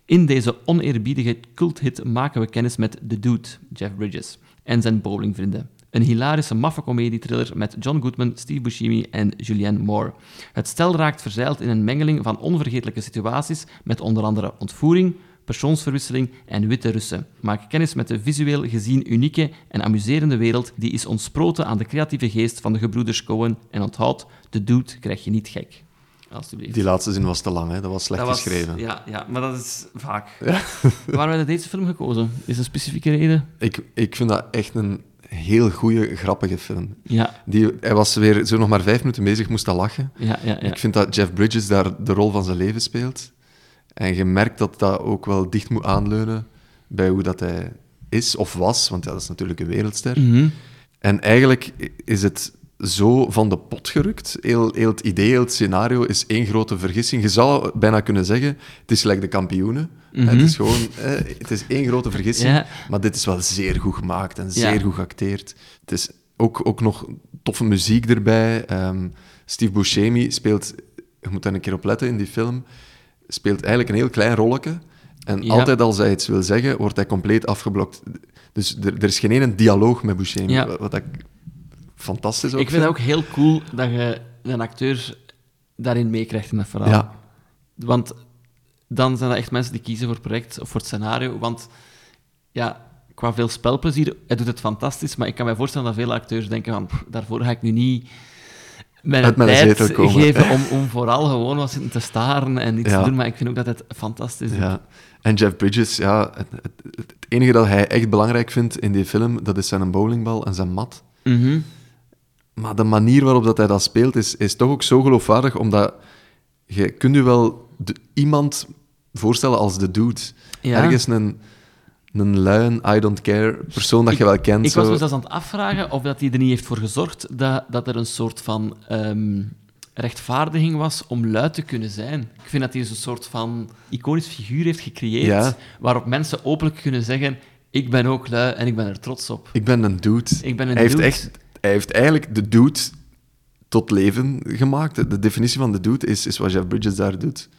Speaker 1: In deze oneerbiedige culthit maken we kennis met The Dude, Jeff Bridges, en zijn bowlingvrienden. Een hilarische maffe comediethriller met John Goodman, Steve Buscemi en Julianne Moore. Het stel raakt verzeild in een mengeling van onvergetelijke situaties met onder andere ontvoering, persoonsverwisseling en witte Russen. Maak kennis met de visueel gezien unieke en amuserende wereld die is ontsproten aan de creatieve geest van de gebroeders Cohen en onthoud, de dude krijg je niet gek. Alsjeblieft.
Speaker 2: Die laatste zin was te lang, hè. dat was slecht
Speaker 1: Dat was-
Speaker 2: geschreven.
Speaker 1: Ja, ja, maar dat is vaak. Waarom hebben we deze film gekozen? Is er een specifieke reden?
Speaker 2: Ik, ik vind dat echt een heel goede, grappige film.
Speaker 1: Ja.
Speaker 2: Die, hij was weer zo nog maar vijf minuten bezig, moest al lachen.
Speaker 1: Ja, ja, ja.
Speaker 2: Ik vind dat Jeff Bridges daar de rol van zijn leven speelt. En je merkt dat dat ook wel dicht moet aanleunen bij hoe dat hij is of was, want ja, dat is natuurlijk een wereldster.
Speaker 1: Mhm.
Speaker 2: En eigenlijk is het zo van de pot gerukt. Heel, heel het idee, heel het scenario is één grote vergissing. Je zou bijna kunnen zeggen, het is gelijk de kampioenen. Het is gewoon, eh, het is één grote vergissing.
Speaker 1: Mhm. Ja.
Speaker 2: Maar dit is wel zeer goed gemaakt en zeer
Speaker 1: Ja.
Speaker 2: goed geacteerd. Het is ook, ook nog toffe muziek erbij. Ehm, Steve Buscemi speelt, je moet daar een keer op letten in die film, speelt eigenlijk een heel klein rolletje. En
Speaker 1: Ja.
Speaker 2: altijd als hij iets wil zeggen, wordt hij compleet afgeblokt. Dus er, er is geen ene dialoog met Buscemi,
Speaker 1: Ja.
Speaker 2: wa- wat ik fantastisch ook
Speaker 1: Ik vind het ook heel cool dat je een acteur daarin meekrijgt in dat verhaal.
Speaker 2: Ja,
Speaker 1: Want dan zijn dat echt mensen die kiezen voor het project of voor het scenario. Want ja, qua veel spelplezier, hij doet het fantastisch, maar ik kan mij voorstellen dat veel acteurs denken van, "Pff, daarvoor ga ik nu niet mijn
Speaker 2: Uit mijn
Speaker 1: tijd
Speaker 2: zetel komen.
Speaker 1: geven om, om vooral gewoon wat zitten te staren en iets
Speaker 2: Ja.
Speaker 1: te doen. Maar ik vind ook dat het fantastisch is.
Speaker 2: Ja. En Jeff Bridges, ja, het, het, het enige dat hij echt belangrijk vindt in die film, dat is zijn bowlingbal en zijn mat.
Speaker 1: Mhm.
Speaker 2: Maar de manier waarop dat hij dat speelt, is, is toch ook zo geloofwaardig, omdat je kunt je wel de- iemand voorstellen als de dude.
Speaker 1: Ja.
Speaker 2: Ergens een, een luien, I don't care persoon dat je wel kent.
Speaker 1: Ik
Speaker 2: zo.
Speaker 1: was me zelfs aan het afvragen of dat hij er niet heeft voor gezorgd dat, dat er een soort van ehm, rechtvaardiging was om lui te kunnen zijn. Ik vind dat hij een soort van iconisch figuur heeft gecreëerd
Speaker 2: Ja.
Speaker 1: waarop mensen openlijk kunnen zeggen ik ben ook lui en ik ben er trots op.
Speaker 2: Ik ben een dude.
Speaker 1: Ik ben een
Speaker 2: hij
Speaker 1: dude.
Speaker 2: Heeft echt, hij heeft eigenlijk de dude tot leven gemaakt. De, de definitie van de dude is, is wat Jeff Bridges daar doet.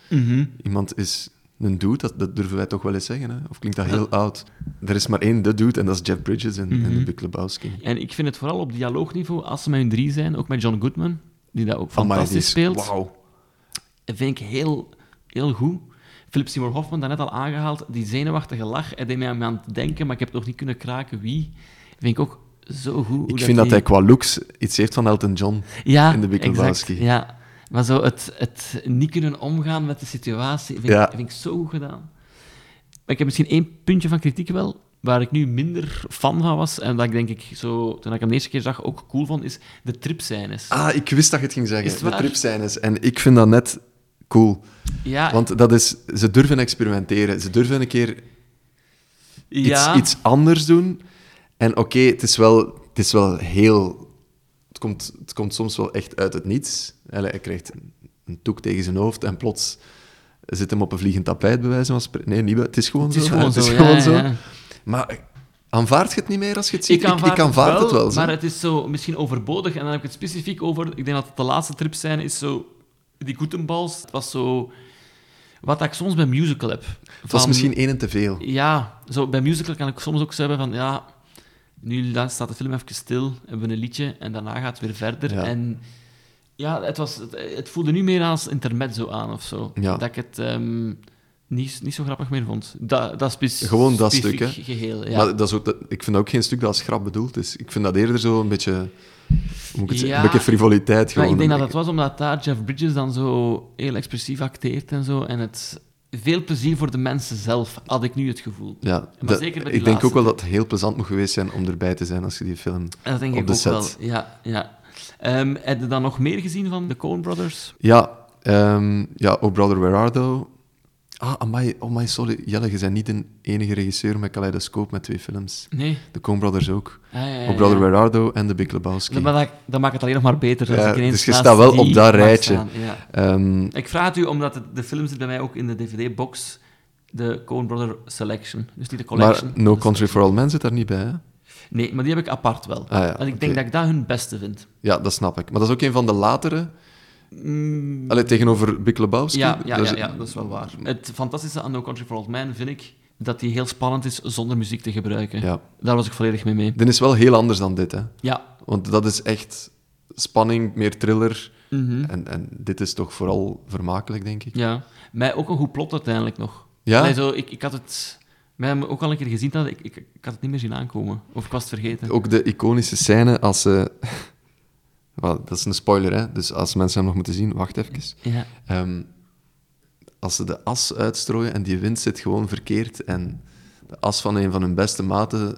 Speaker 2: Iemand is een dude, dat, dat durven wij toch wel eens zeggen. Hè? Of klinkt dat heel oud? Er is maar één de dude en dat is Jeff Bridges en, en de Big Lebowski.
Speaker 1: En ik vind het vooral op dialoogniveau, als ze met hun drie zijn, ook met John Goodman, die dat ook
Speaker 2: Amai, die
Speaker 1: fantastisch
Speaker 2: is-
Speaker 1: speelt.
Speaker 2: Wauw.
Speaker 1: Dat vind ik heel, heel goed. Philip Seymour Hoffman, daarnet al aangehaald, die zenuwachtige lach, hij deed mij aan het denken, maar ik heb nog niet kunnen kraken wie. vind ik ook zo goed. hoe
Speaker 2: Ik vind dat
Speaker 1: die-
Speaker 2: hij qua looks iets heeft van Elton John
Speaker 1: ja,
Speaker 2: in de Big
Speaker 1: exact,
Speaker 2: Lebowski.
Speaker 1: Ja, maar zo het, het niet kunnen omgaan met de situatie, vind,
Speaker 2: Ja.
Speaker 1: ik, vind ik zo goed gedaan. Maar ik heb misschien één puntje van kritiek wel, waar ik nu minder fan van was, en dat ik denk ik zo, toen ik hem de eerste keer zag, ook cool vond, is de tripscènes.
Speaker 2: Ah, ik wist dat je het ging
Speaker 1: Is het
Speaker 2: zeggen. De
Speaker 1: waar?
Speaker 2: tripscènes. En ik vind dat net cool.
Speaker 1: ja,
Speaker 2: Want dat is, ze durven experimenteren. Ze durven een keer iets,
Speaker 1: ja.
Speaker 2: iets anders doen. En oké, het is wel, het is wel heel... Het komt, het komt soms wel echt uit het niets. Allee, hij krijgt een, een toek tegen zijn hoofd en plots zit hem op een vliegend tapijt, bij wijze van spreken. Nee, niet, bij- het is gewoon
Speaker 1: het
Speaker 2: zo.
Speaker 1: is gewoon
Speaker 2: Het is
Speaker 1: zo, ja,
Speaker 2: gewoon
Speaker 1: ja,
Speaker 2: zo.
Speaker 1: ja.
Speaker 2: Maar aanvaard je het niet meer als je het ziet? het wel. zo.
Speaker 1: maar het is zo misschien overbodig. En dan heb ik het specifiek over... Ik denk dat het de laatste trip zijn is zo... Die Goetenbals. Het was zo... Wat ik soms bij musical heb.
Speaker 2: het was
Speaker 1: Van-
Speaker 2: misschien één en te veel.
Speaker 1: Ja, zo, bij musical kan ik soms ook zo hebben van... Ja, nu la- staat de film even stil, hebben we een liedje en daarna gaat het weer verder.
Speaker 2: Ja.
Speaker 1: En ja, het, was, het, het voelde nu meer als intermezzo aan of zo.
Speaker 2: Ja.
Speaker 1: Dat ik het ehm, niet, niet zo grappig meer vond. Dat, dat spe-
Speaker 2: Gewoon dat
Speaker 1: specifiek
Speaker 2: stuk, hè?
Speaker 1: geheel, ja.
Speaker 2: Maar dat is ook, dat, ik vind dat ook geen stuk dat als grap bedoeld is. Ik vind dat eerder zo een beetje... hoe Moet ik het zeggen?
Speaker 1: Ja.
Speaker 2: Een beetje frivoliteit
Speaker 1: Maar
Speaker 2: gewoon.
Speaker 1: ik denk
Speaker 2: Een
Speaker 1: dat dat was omdat daar Jeff Bridges dan zo heel expressief acteert en zo. En het veel plezier voor de mensen zelf, had ik nu het gevoel.
Speaker 2: Ja,
Speaker 1: maar
Speaker 2: dat-
Speaker 1: zeker bij die
Speaker 2: ik denk ook
Speaker 1: laatste
Speaker 2: wel dat het heel plezant moet geweest zijn om erbij te zijn als je die film
Speaker 1: En dat denk
Speaker 2: op
Speaker 1: ik
Speaker 2: de
Speaker 1: ook
Speaker 2: set.
Speaker 1: wel. Ja, ja. Ehm, heb je dan nog meer gezien van de Coen Brothers?
Speaker 2: Ja, ehm, ja, Oh Brother Where Art Thou? Ah, amai, oh my, sorry. Jelle, je bent niet de enige regisseur met Kaleidoscoop met twee films.
Speaker 1: Nee.
Speaker 2: De Coen Brothers ook.
Speaker 1: Ah, ja, ja,
Speaker 2: oh Brother
Speaker 1: ja.
Speaker 2: Where Art Thou en The Big Lebowski.
Speaker 1: Dat, maar dat, dat maakt het alleen nog maar beter. als
Speaker 2: Ja,
Speaker 1: ik ineens
Speaker 2: dus je
Speaker 1: naast
Speaker 2: staat wel
Speaker 1: die
Speaker 2: op dat
Speaker 1: mag
Speaker 2: rijtje.
Speaker 1: staan, ja.
Speaker 2: Ehm,
Speaker 1: Ik vraag het u omdat het- de film zit bij mij ook in de DVD-box, de Coen Brother Selection. Dus niet de
Speaker 2: maar
Speaker 1: collection.
Speaker 2: No
Speaker 1: Dus-
Speaker 2: Country for All Men zit daar niet bij, hè?
Speaker 1: Nee, maar die heb ik apart wel.
Speaker 2: Ah ja,
Speaker 1: Want ik
Speaker 2: oké.
Speaker 1: denk dat ik dat hun beste vind.
Speaker 2: Ja, dat snap ik. Maar dat is ook een van de latere. Allee, tegenover Big Lebowski.
Speaker 1: Mm. Ja, ja,
Speaker 2: Daar
Speaker 1: ja,
Speaker 2: zit-
Speaker 1: ja, dat is wel waar. Het fantastische aan No Country for Old Men vind ik dat die heel spannend is zonder muziek te gebruiken.
Speaker 2: Ja.
Speaker 1: Daar was ik volledig mee mee.
Speaker 2: Dit is wel heel anders dan dit, hè?
Speaker 1: Ja,
Speaker 2: Want dat is echt spanning, meer thriller. En, en dit is toch vooral vermakelijk, denk ik.
Speaker 1: Mhm. ja. Mij ook een goed plot uiteindelijk nog.
Speaker 2: Ja?
Speaker 1: Allee, zo, ik, ik had het... Mij hebben we ook al een keer gezien, dat ik, ik, ik had het niet meer zien aankomen. Of ik was het vergeten.
Speaker 2: Ook de iconische scène als ze... Wel, dat is een spoiler, hè? Dus als mensen hem nog moeten zien, wacht even.
Speaker 1: Ja.
Speaker 2: Ehm, als ze de as uitstrooien en die wind zit gewoon verkeerd en de as van een van hun beste maten...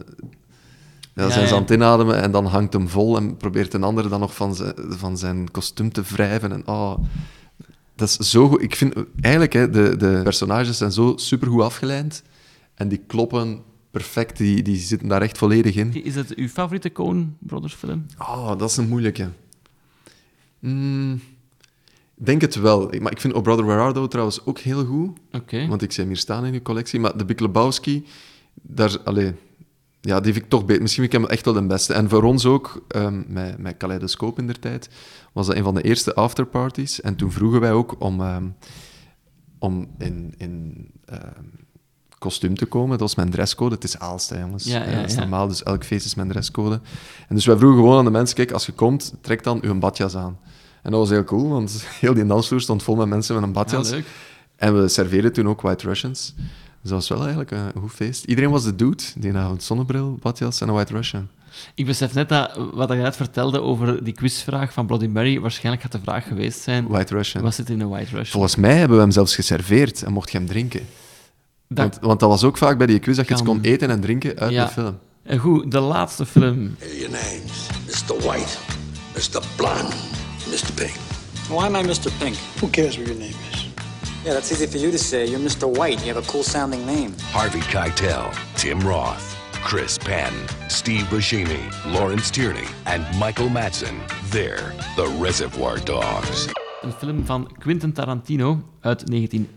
Speaker 2: Ja,
Speaker 1: Ja,
Speaker 2: zijn ze
Speaker 1: ja.
Speaker 2: aan het inademen en dan hangt hem vol en probeert een ander dan nog van zijn, van zijn kostuum te wrijven. En, oh, dat is zo goed. Ik vind eh, eigenlijk, hè, de, de personages zijn zo supergoed afgeleid en die kloppen perfect, die, die zitten daar echt volledig in.
Speaker 1: Is het uw favoriete Coen Brothers film?
Speaker 2: Oh, dat is een moeilijke. Mm, ik denk het wel. Ik- Maar ik vind Oh Brother Where Art Thou trouwens ook heel goed.
Speaker 1: Oké.
Speaker 2: Want ik zie hem hier staan in je collectie. Maar de Big Lebowski, daar, allee, ja, die vind ik toch beter. Misschien vind ik hem echt wel de beste. En voor ons ook, ehm met, met Kaleidoscoop in der tijd, was dat een van de eerste afterparties. En toen vroegen wij ook om, ehm, om in, in ehm, kostuum te komen. Dat was mijn dresscode. Het is Aalst, hè, jongens.
Speaker 1: Ja, ja,
Speaker 2: dat is
Speaker 1: ja.
Speaker 2: normaal. Dus elk feest is mijn dresscode. En dus wij vroegen gewoon aan de mensen, kijk, als je komt, trek dan uw badjas aan. En dat was heel cool, want heel die dansvloer stond vol met mensen met een badjas.
Speaker 1: Ja, leuk.
Speaker 2: En we serveerden toen ook White Russians. Dus dat was wel eigenlijk een goed feest. Iedereen was de dude die avond. Zonnebril, badjas en een White Russian.
Speaker 1: Ik besef net dat wat ik net vertelde over die quizvraag van Bloody Mary, waarschijnlijk gaat de vraag geweest zijn...
Speaker 2: White Russian.
Speaker 1: Was het in een White Russian?
Speaker 2: Volgens mij hebben we hem zelfs geserveerd en mocht je hem drinken.
Speaker 1: Dat-
Speaker 2: Want, want dat was ook vaak bij die quiz dat je iets
Speaker 1: Kan.
Speaker 2: kon eten en drinken uit
Speaker 1: Ja.
Speaker 2: de film.
Speaker 1: En goed, de laatste film.
Speaker 10: Your names Mr. White, Mr. Blonde, Mr. Pink.
Speaker 5: Why am I Mr. Pink?
Speaker 7: Who cares what your name is?
Speaker 5: Yeah, that's easy for you to say. You're Mr. White. You have a cool sounding name.
Speaker 9: Harvey Keitel, Tim Roth, Chris Penn, Steve Buscemi, Lawrence Tierney, and Michael Madsen. They're the Reservoir Dogs.
Speaker 1: Een film van Quentin Tarantino uit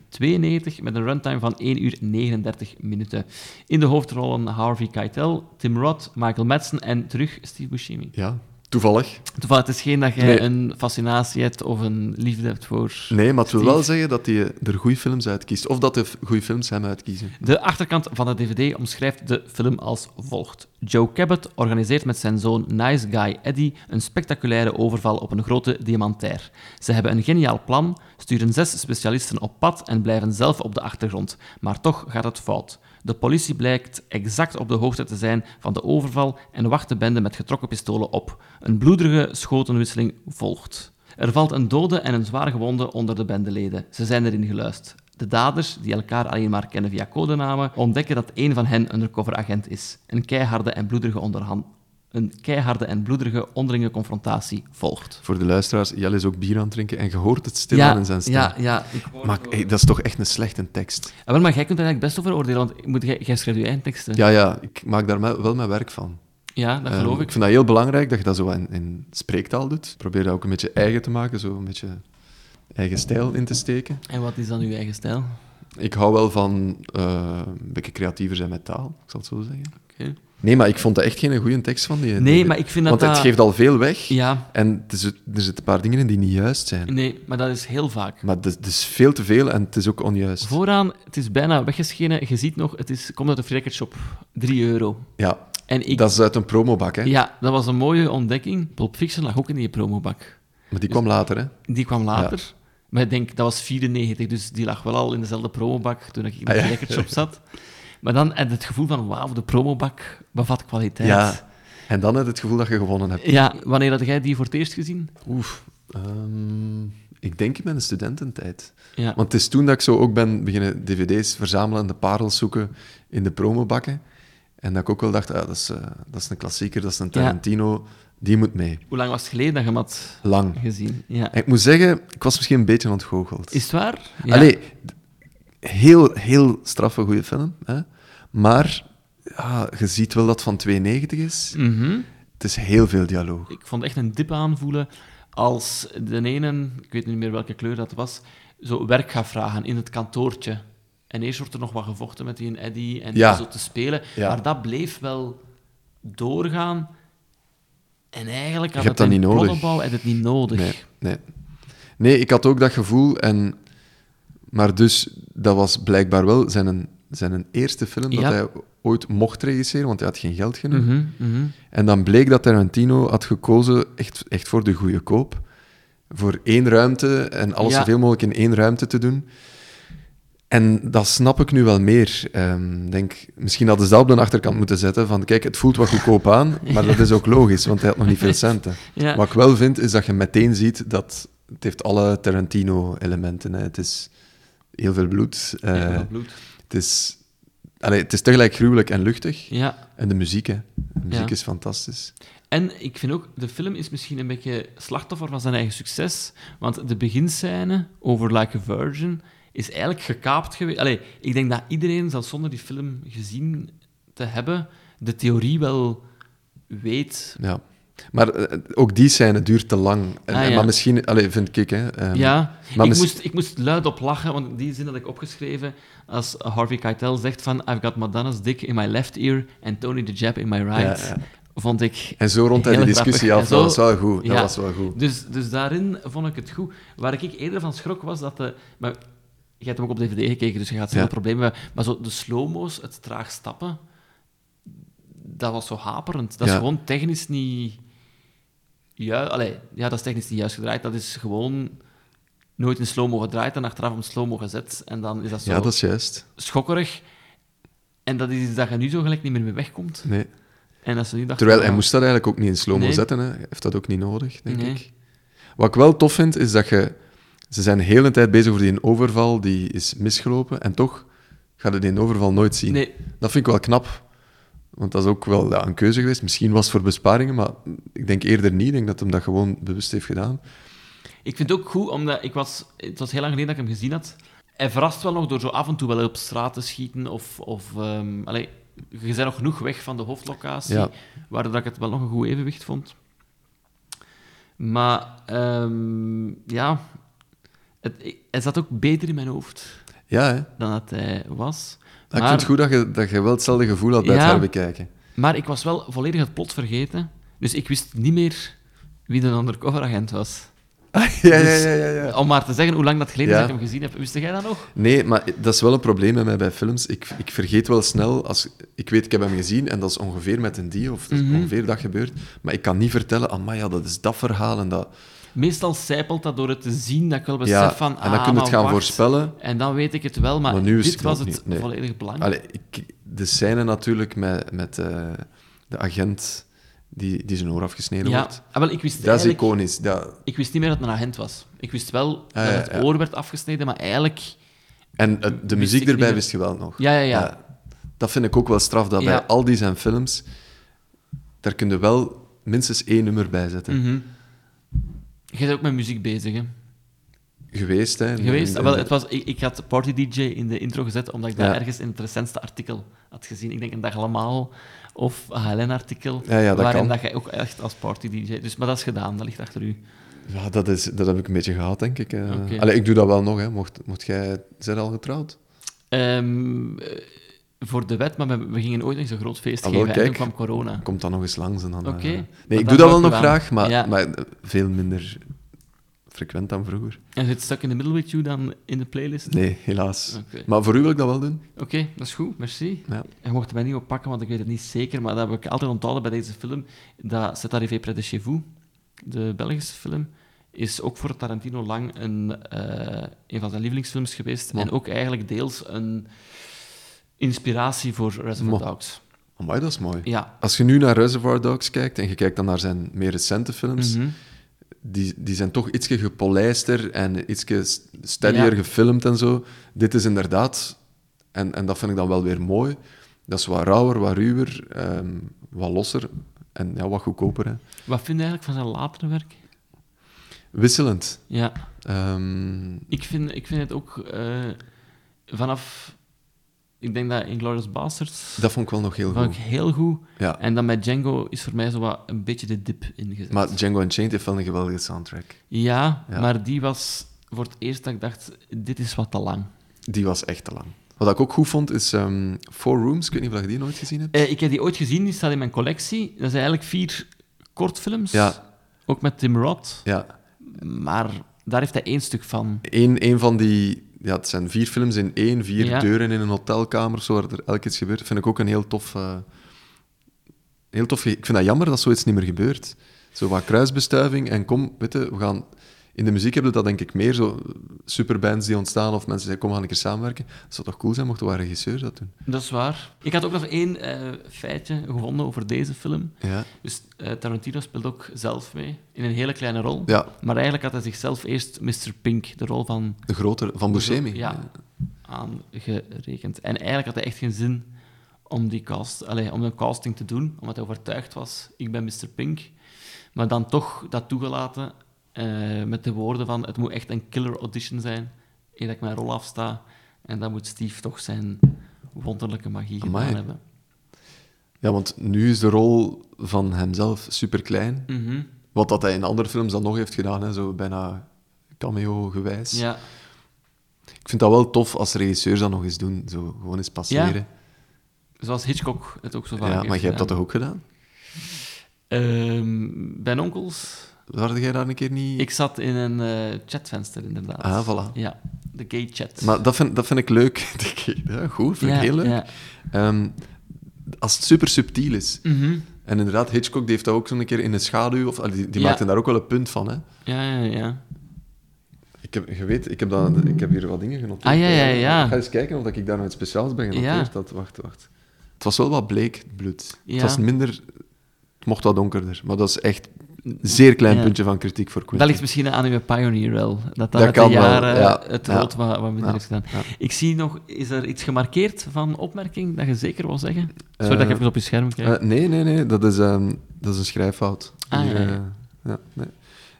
Speaker 1: 1992 met een runtime van 1 uur 39 minuten. In de hoofdrollen Harvey Keitel, Tim Roth, Michael Madsen en terug Steve Buscemi.
Speaker 2: Ja, toevallig.
Speaker 1: Toevallig, het is geen dat jij
Speaker 2: Nee.
Speaker 1: een fascinatie hebt of een liefde hebt voor...
Speaker 2: Nee, maar het wil
Speaker 1: Steve.
Speaker 2: wel zeggen dat hij er goede films uitkiest. Of dat de f- goede films hem uitkiezen.
Speaker 1: De achterkant van de DVD omschrijft de film als volgt. Joe Cabot organiseert met zijn zoon Nice Guy Eddie een spectaculaire overval op een grote diamantair. Ze hebben een geniaal plan, sturen zes specialisten op pad en blijven zelf op de achtergrond. Maar toch gaat het fout. De politie blijkt exact op de hoogte te zijn van de overval en wacht de bende met getrokken pistolen op. Een bloederige schotenwisseling volgt. Er valt een dode en een zwaar gewonde onder de bendeleden. Ze zijn erin geluisterd. De daders, die elkaar alleen maar kennen via codenamen, ontdekken dat een van hen undercoveragent is. Een keiharde en bloederige onderhand... Een keiharde en bloederige onderlinge confrontatie volgt.
Speaker 2: Voor de luisteraars, Jelle is ook bier aan het drinken en je hoort het stil aan in zijn stem.
Speaker 1: ja, ja. Ik...
Speaker 2: Maar hey, dat is toch echt een slechte tekst.
Speaker 1: Ah, wel, maar jij kunt er eigenlijk best over oordelen, want moet jij, jij schrijft je eigen teksten.
Speaker 2: Ja, ja, ik maak daar me- wel mijn werk van.
Speaker 1: Ja, dat
Speaker 2: Ehm,
Speaker 1: geloof
Speaker 2: Ik
Speaker 1: ik.
Speaker 2: vind dat heel belangrijk dat je dat zo in, in spreektaal doet. Ik Probeer dat ook een beetje eigen te maken, zo een beetje eigen stijl in te steken.
Speaker 1: En wat is dan uw eigen stijl?
Speaker 2: Ik hou wel van eh, een beetje creatiever zijn met taal, ik zal het zo zeggen. Nee, maar ik vond er echt geen goede tekst van. Die,
Speaker 1: Nee,
Speaker 2: die-
Speaker 1: maar ik vind dat
Speaker 2: Want het
Speaker 1: dat-
Speaker 2: geeft al veel weg.
Speaker 1: Ja.
Speaker 2: En er zit- er zitten een paar dingen in die niet juist zijn.
Speaker 1: Nee, maar dat is heel vaak.
Speaker 2: Maar het is- het is veel te veel en het is ook onjuist.
Speaker 1: Vooraan, het is bijna weggeschenen. Je ziet nog, het is, komt uit de Free Record Shop. 3 euro.
Speaker 2: Ja,
Speaker 1: En ik,
Speaker 2: dat is uit een promobak, hè?
Speaker 1: Ja, dat was een mooie ontdekking. Pulp Fiction lag ook in die promobak.
Speaker 2: Maar die kwam later, hè?
Speaker 1: Die kwam later. Maar ik denk, dat was 94, dus die lag wel al in dezelfde promobak toen ik in de
Speaker 2: Ah, ja.
Speaker 1: lekker op zat. Maar dan had het gevoel van, wauw, de promobak bevat kwaliteit.
Speaker 2: Ja. En dan heb je het gevoel dat je gewonnen hebt.
Speaker 1: Ja, wanneer had jij die voor het eerst gezien?
Speaker 2: Oef. ehm, ik denk in mijn studententijd.
Speaker 1: Ja.
Speaker 2: Want het is toen dat ik zo ook ben beginnen dvd's verzamelen en de parels zoeken in de promobakken. En dat ik ook wel dacht, ah, dat, is, eh, dat is een klassieker, dat is een Tarantino, die moet mee.
Speaker 1: Hoe lang was het geleden dat je hem had
Speaker 2: Lang.
Speaker 1: gezien? Ja.
Speaker 2: En ik moet zeggen, ik was misschien een beetje ontgoocheld.
Speaker 1: Is het waar? Ja.
Speaker 2: Allee, d- heel, heel straffe goede film. Hè? Maar ja, je ziet wel dat het van 92 is.
Speaker 1: Mhm.
Speaker 2: Het is heel veel dialoog.
Speaker 1: Ik vond echt een dip aanvoelen als de ene, ik weet niet meer welke kleur dat was, zo werk gaat vragen in het kantoortje. En eerst wordt er nog wat gevochten met die en Eddie en
Speaker 2: Ja.
Speaker 1: zo te spelen.
Speaker 2: Ja.
Speaker 1: Maar dat bleef wel doorgaan. En eigenlijk had
Speaker 2: Je
Speaker 1: het
Speaker 2: hebt dat
Speaker 1: in
Speaker 2: niet nodig.
Speaker 1: plotopbouw had het niet nodig.
Speaker 2: Nee, nee. nee, ik had ook dat gevoel. En, maar dus, dat was blijkbaar wel zijn, een- zijn een eerste film
Speaker 1: Ja.
Speaker 2: dat hij ooit mocht regisseren, want hij had geen geld genoeg.
Speaker 1: Mhm, mhm.
Speaker 2: En dan bleek dat Tarantino had gekozen echt, echt voor de goede koop. Voor één ruimte en alles
Speaker 1: Ja.
Speaker 2: zoveel mogelijk in één ruimte te doen. En dat snap ik nu wel meer. Ehm, denk, misschien hadden ze dat op de achterkant moeten zetten. Van kijk, het voelt wat goedkoop aan, maar dat is ook logisch, want hij had nog niet veel centen.
Speaker 1: Ja.
Speaker 2: Wat ik wel vind, is dat je meteen ziet dat het heeft alle Tarantino-elementen. hè. Het is heel veel bloed. eh,
Speaker 1: Ja, dat bloed.
Speaker 2: het, is, allee, het is tegelijk gruwelijk en luchtig.
Speaker 1: Ja.
Speaker 2: En de muziek, hè. De muziek
Speaker 1: Ja.
Speaker 2: is fantastisch.
Speaker 1: En ik vind ook, de film is misschien een beetje slachtoffer van zijn eigen succes. Want de beginscène over Like a Virgin is eigenlijk gekaapt geweest. Allee, ik denk dat iedereen, zelfs zonder die film gezien te hebben, de theorie wel weet.
Speaker 2: Ja. Maar eh, ook die scène duurt te lang. En-
Speaker 1: Ah,
Speaker 2: en-
Speaker 1: ja.
Speaker 2: Maar misschien... Allee, vind ik, hè. ehm,
Speaker 1: Ja,
Speaker 2: maar
Speaker 1: ik,
Speaker 2: mis-
Speaker 1: moest, ik moest luid op lachen, want die zin had ik opgeschreven als Harvey Keitel zegt van I've got Madonna's dick in my left ear and Tony the Jab in my right.
Speaker 2: Ja, ja.
Speaker 1: Vond ik
Speaker 2: En zo rond hij
Speaker 1: Heel
Speaker 2: die discussie
Speaker 1: grappig.
Speaker 2: af.
Speaker 1: En
Speaker 2: Dat was
Speaker 1: zo-
Speaker 2: wel goed. Dat
Speaker 1: Ja.
Speaker 2: was wel goed.
Speaker 1: Dus, dus daarin vond ik het goed. Waar ik eerder van schrok was dat de. Maar je hebt hem ook op DVD gekeken, dus je gaat zoveel
Speaker 2: Ja.
Speaker 1: problemen hebben. Maar zo de slow-mo's, het traag stappen, dat was zo haperend. Dat is
Speaker 2: Ja.
Speaker 1: gewoon technisch niet. Ju Allee, ja, dat is technisch niet juist gedraaid. Dat is gewoon nooit in slow-mo gedraaid en achteraf om slow-mo gezet. En dan is dat zo
Speaker 2: Ja, dat is juist.
Speaker 1: schokkerig. En dat is iets dat je nu zo gelijk niet meer mee wegkomt.
Speaker 2: Nee.
Speaker 1: En dat ze niet dachten,
Speaker 2: Terwijl hij
Speaker 1: ja,
Speaker 2: moest dat eigenlijk ook niet in slow-mo
Speaker 1: Ah. Nee.
Speaker 2: zetten. Hè. Hij heeft dat ook niet nodig, denk
Speaker 1: Nee.
Speaker 2: ik. Wat ik wel tof vind, is dat je... Ze zijn de hele tijd bezig over die overval, die is misgelopen. En toch ga je die overval nooit zien.
Speaker 1: Nee.
Speaker 2: Dat vind ik wel knap. Want dat is ook wel ja, een keuze geweest. Misschien was het voor besparingen, maar ik denk eerder niet. Ik denk dat hem dat gewoon bewust heeft gedaan.
Speaker 1: Ik vind het ook goed, omdat ik was, het was heel lang geleden dat ik hem gezien had. Hij verrast wel nog door zo af en toe wel op straat te schieten. Of, of ehm, allee, je bent nog genoeg weg van de hoofdlocatie,
Speaker 2: Ja.
Speaker 1: waardoor dat ik het wel nog een goed evenwicht vond. Maar ehm, ja, het, ik- hij zat ook beter in mijn hoofd
Speaker 2: Ja, hè.
Speaker 1: dan dat hij was.
Speaker 2: Maar ik vind het goed dat je, dat je wel hetzelfde gevoel had bij het
Speaker 1: Ja.
Speaker 2: herbekijken.
Speaker 1: maar ik was wel volledig het plot vergeten, dus ik wist niet meer wie de undercoveragent was.
Speaker 2: Ja, ja,
Speaker 1: Dus,
Speaker 2: ja, ja, ja.
Speaker 1: Om maar te zeggen hoe lang dat geleden is
Speaker 2: Ja.
Speaker 1: dat ik hem gezien heb, wist jij dat nog?
Speaker 2: Nee, maar dat is wel een probleem bij mij bij films. Ik, ik vergeet wel snel, als, ik weet, ik heb hem gezien en dat is ongeveer met een die, of dat is
Speaker 1: Mhm.
Speaker 2: ongeveer dat gebeurt. Maar ik kan niet vertellen, amai, ja, dat is dat verhaal en dat...
Speaker 1: Meestal zijpelt dat door het te zien dat ik wel besef
Speaker 2: Ja,
Speaker 1: van...
Speaker 2: en dan
Speaker 1: ah,
Speaker 2: kun je het
Speaker 1: maar
Speaker 2: gaan
Speaker 1: wacht.
Speaker 2: voorspellen.
Speaker 1: En dan weet ik het wel, maar,
Speaker 2: Maar nu is
Speaker 1: Ah, dit
Speaker 2: het
Speaker 1: was
Speaker 2: nog
Speaker 1: het
Speaker 2: niet, nee.
Speaker 1: volledig belangrijk.
Speaker 2: Allee, ik, de scène natuurlijk met, met eh, de agent die, die zijn oor afgesneden
Speaker 1: ja,
Speaker 2: wordt.
Speaker 1: ah, wel, ik wist
Speaker 2: Dat is
Speaker 1: eigenlijk...
Speaker 2: iconisch. Dat,
Speaker 1: Ik wist niet meer dat het een agent was. Ik wist wel dat
Speaker 2: ja,
Speaker 1: het
Speaker 2: ja.
Speaker 1: oor werd afgesneden, maar eigenlijk...
Speaker 2: en eh, de muziek
Speaker 1: ik niet
Speaker 2: erbij
Speaker 1: meer.
Speaker 2: wist je wel nog.
Speaker 1: Ja, ja, ja.
Speaker 2: dat vind ik ook wel straf, dat
Speaker 1: Ja.
Speaker 2: bij al die zijn films, daar kun je wel minstens één nummer bij zetten.
Speaker 1: Mhm. Je bent ook met muziek bezig, hè?
Speaker 2: Geweest, hè.
Speaker 1: Geweest?
Speaker 2: En-
Speaker 1: Ah,
Speaker 2: en-
Speaker 1: wel, het was, ik, ik had Party DJ in de intro gezet, omdat ik dat
Speaker 2: Ja.
Speaker 1: ergens in het recentste artikel had gezien. Ik denk een dag allemaal of HLN-artikel,
Speaker 2: Ja, ja, dat
Speaker 1: waarin
Speaker 2: kan.
Speaker 1: dat jij ook echt als Party DJ... Dus, maar dat is gedaan, dat ligt achter u.
Speaker 2: Ja, dat, is, dat heb ik een beetje gehad, denk ik. eh.
Speaker 1: Oké.
Speaker 2: Allee, ik doe dat wel nog, hè. Mocht, mocht jij... Zijn al getrouwd?
Speaker 1: Ehm, eh, voor de wet, maar we, we gingen ooit nog zo'n groot feest
Speaker 2: Hallo,
Speaker 1: geven en
Speaker 2: kijk.
Speaker 1: toen kwam corona.
Speaker 2: Komt dan nog eens langs en dan... eh.
Speaker 1: Oké. Maar
Speaker 2: Nee, ik
Speaker 1: dan
Speaker 2: doe
Speaker 1: zou
Speaker 2: dat wel
Speaker 1: ik
Speaker 2: nog
Speaker 1: wel.
Speaker 2: graag, maar,
Speaker 1: Ja.
Speaker 2: maar eh, veel minder frequent dan vroeger.
Speaker 1: En zit Stuck in the Middle with You dan in de playlist?
Speaker 2: Nee, helaas.
Speaker 1: Oké.
Speaker 2: Maar voor u wil ik dat wel doen.
Speaker 1: Oké, dat is goed, merci.
Speaker 2: Ja.
Speaker 1: En je mocht mij niet oppakken, want ik weet het niet zeker, maar dat heb ik altijd onthouden bij deze film, dat C'est arrivé près de chez vous, de Belgische film, is ook voor Tarantino lang een, eh, een van zijn lievelingsfilms geweest en ook eigenlijk deels een inspiratie voor Reservoir
Speaker 2: Mo.
Speaker 1: Dogs.
Speaker 2: Amai, dat is mooi.
Speaker 1: Ja.
Speaker 2: Als je nu naar Reservoir Dogs kijkt en je kijkt dan naar zijn meer recente films,
Speaker 1: Mhm.
Speaker 2: die, die zijn toch ietsje gepolijster en ietsje st- steadier
Speaker 1: Ja.
Speaker 2: gefilmd en zo. Dit is inderdaad, en, en dat vind ik dan wel weer mooi, dat is wat rauwer, wat ruwer, ehm, wat losser en ja, wat goedkoper. Hè.
Speaker 1: Wat vind je eigenlijk van zijn latere werk?
Speaker 2: Wisselend.
Speaker 1: Ja.
Speaker 2: Ehm,
Speaker 1: Ik vind, ik vind het ook eh, vanaf. Ik denk dat Inglourious Basterds.
Speaker 2: dat vond ik wel nog heel
Speaker 1: vond
Speaker 2: goed.
Speaker 1: ik heel goed.
Speaker 2: Ja.
Speaker 1: En dan met Django is voor mij zo wat een beetje de dip ingezet.
Speaker 2: Maar Django Unchained heeft wel een geweldige soundtrack.
Speaker 1: ja,
Speaker 2: Ja.
Speaker 1: maar die was voor het eerst dat ik dacht: dit is wat te lang.
Speaker 2: Die was echt te lang. Wat ik ook goed vond, is ehm, Four Rooms. Ik weet niet of je die nooit gezien hebt.
Speaker 1: Eh, ik heb die ooit gezien, die staat in mijn collectie. Dat zijn eigenlijk vier kortfilms.
Speaker 2: Ja.
Speaker 1: Ook met Tim Roth.
Speaker 2: Ja,
Speaker 1: Maar daar heeft hij één stuk van.
Speaker 2: Eén één van die... Ja, het zijn vier films in één, vier
Speaker 1: Ja.
Speaker 2: deuren in een hotelkamer, zo, waar er elk iets gebeurt. Vind ik ook een heel tof... eh, heel tof ge- ik vind dat jammer dat zoiets niet meer gebeurt. Zo wat kruisbestuiving en kom, weet je, we gaan... In de muziek hebben we dat denk ik meer, zo superbands die ontstaan of mensen zeggen, kom, we gaan een keer samenwerken. Het zou toch cool zijn mochten we een regisseur dat doen?
Speaker 1: Dat is waar. Ik had ook nog één eh, feitje gevonden over deze film.
Speaker 2: Ja.
Speaker 1: Dus eh, Tarantino speelt ook zelf mee, in een hele kleine rol.
Speaker 2: Ja.
Speaker 1: Maar eigenlijk had hij zichzelf eerst Mr. Pink, de rol van...
Speaker 2: De grotere, van Buscemi.
Speaker 1: Ja,
Speaker 2: eh,
Speaker 1: aangerekend. En eigenlijk had hij echt geen zin om, die cast, allee, om een casting te doen, omdat hij overtuigd was, ik ben Mr. Pink. Maar dan toch dat toegelaten eh, met de woorden van, het moet echt een killer audition zijn, eer dat ik mijn rol afsta. En dan moet Steve toch zijn wonderlijke magie
Speaker 2: Amai.
Speaker 1: gedaan hebben.
Speaker 2: Ja, want nu is de rol van hemzelf superklein.
Speaker 1: Mhm.
Speaker 2: Wat dat hij in andere films dan nog heeft gedaan, hè, zo bijna cameo-gewijs.
Speaker 1: Ja.
Speaker 2: Ik vind dat wel tof als regisseurs dat nog eens doen. Zo, gewoon eens passeren.
Speaker 1: Zoals Hitchcock het ook zo
Speaker 2: Ja,
Speaker 1: vaak heeft
Speaker 2: maar jij hebt dat
Speaker 1: gedaan.
Speaker 2: toch ook gedaan?
Speaker 1: Ehm, bij onkels.
Speaker 2: Waarde jij daar een keer niet...
Speaker 1: Ik zat in een eh, chatvenster, inderdaad.
Speaker 2: Ah, voilà.
Speaker 1: Ja, de gay chat.
Speaker 2: Maar dat vind, dat vind ik leuk. Denk ik. Ja, goed, vind
Speaker 1: Ja,
Speaker 2: ik heel leuk.
Speaker 1: ja.
Speaker 2: Ehm, als het super subtiel is.
Speaker 1: Mhm.
Speaker 2: En inderdaad, Hitchcock die heeft dat ook zo'n keer in de schaduw. Of, die die
Speaker 1: Ja.
Speaker 2: maakte daar ook wel een punt van. Hè.
Speaker 1: Ja, ja, ja.
Speaker 2: Ik heb, je weet, ik heb, dat, ik heb hier wat dingen genoteerd.
Speaker 1: Ah, ja, ja, ja.
Speaker 2: Ik ga eens kijken of dat ik daar nog iets speciaals bij genoteerd
Speaker 1: Ja.
Speaker 2: had. Wacht, wacht. Het was wel wat bleek, het bloed.
Speaker 1: Ja.
Speaker 2: Het was minder mocht dat donkerder. Maar dat is echt een zeer klein
Speaker 1: Ja.
Speaker 2: puntje van kritiek voor Quentin.
Speaker 1: Dat ligt misschien aan uw Pioneer wel. Dat dat
Speaker 2: Dat
Speaker 1: met de
Speaker 2: kan wel,
Speaker 1: jaren
Speaker 2: ja.
Speaker 1: het
Speaker 2: Ja.
Speaker 1: rood wat, wat minder
Speaker 2: Ja.
Speaker 1: is gedaan.
Speaker 2: Ja.
Speaker 1: Ik zie nog, is er iets gemarkeerd van opmerking dat je zeker wil zeggen? Sorry dat ik even op je scherm kijk.
Speaker 2: Eh, nee, nee, nee, dat is, ehm, dat is een schrijffout.
Speaker 1: Ah, ja, ja.
Speaker 2: eh, ja, nee,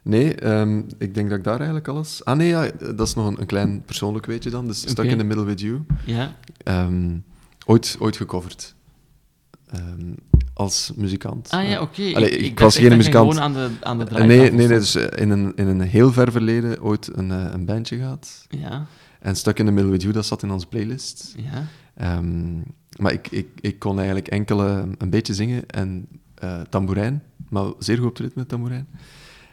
Speaker 2: nee ehm, ik denk dat ik daar eigenlijk alles... Ah nee, ja, eh, dat is nog een, een klein persoonlijk weetje dan. Dus Stuck
Speaker 1: Oké.
Speaker 2: in the Middle with You.
Speaker 1: ja,
Speaker 2: Ehm, ooit, ooit gecoverd. Ehm, als muzikant.
Speaker 1: Ah ja,
Speaker 2: Ja.
Speaker 1: oké.
Speaker 2: Allee,
Speaker 1: ik,
Speaker 2: ik
Speaker 1: dacht
Speaker 2: was
Speaker 1: echt
Speaker 2: geen
Speaker 1: dat je
Speaker 2: muzikant.
Speaker 1: Gewoon aan de, aan de
Speaker 2: Eh, nee,
Speaker 1: draaitafel
Speaker 2: nee, nee,
Speaker 1: stond.
Speaker 2: dus eh, in een, in een heel ver verleden ooit een, eh, een bandje gehad.
Speaker 1: Ja,
Speaker 2: En Stuck in the Middle with You, dat zat in onze playlist.
Speaker 1: ja.
Speaker 2: Ehm, maar ik, ik, ik kon eigenlijk enkele een beetje zingen en eh tamboerijn, maar zeer goed op het ritme tamboerijn.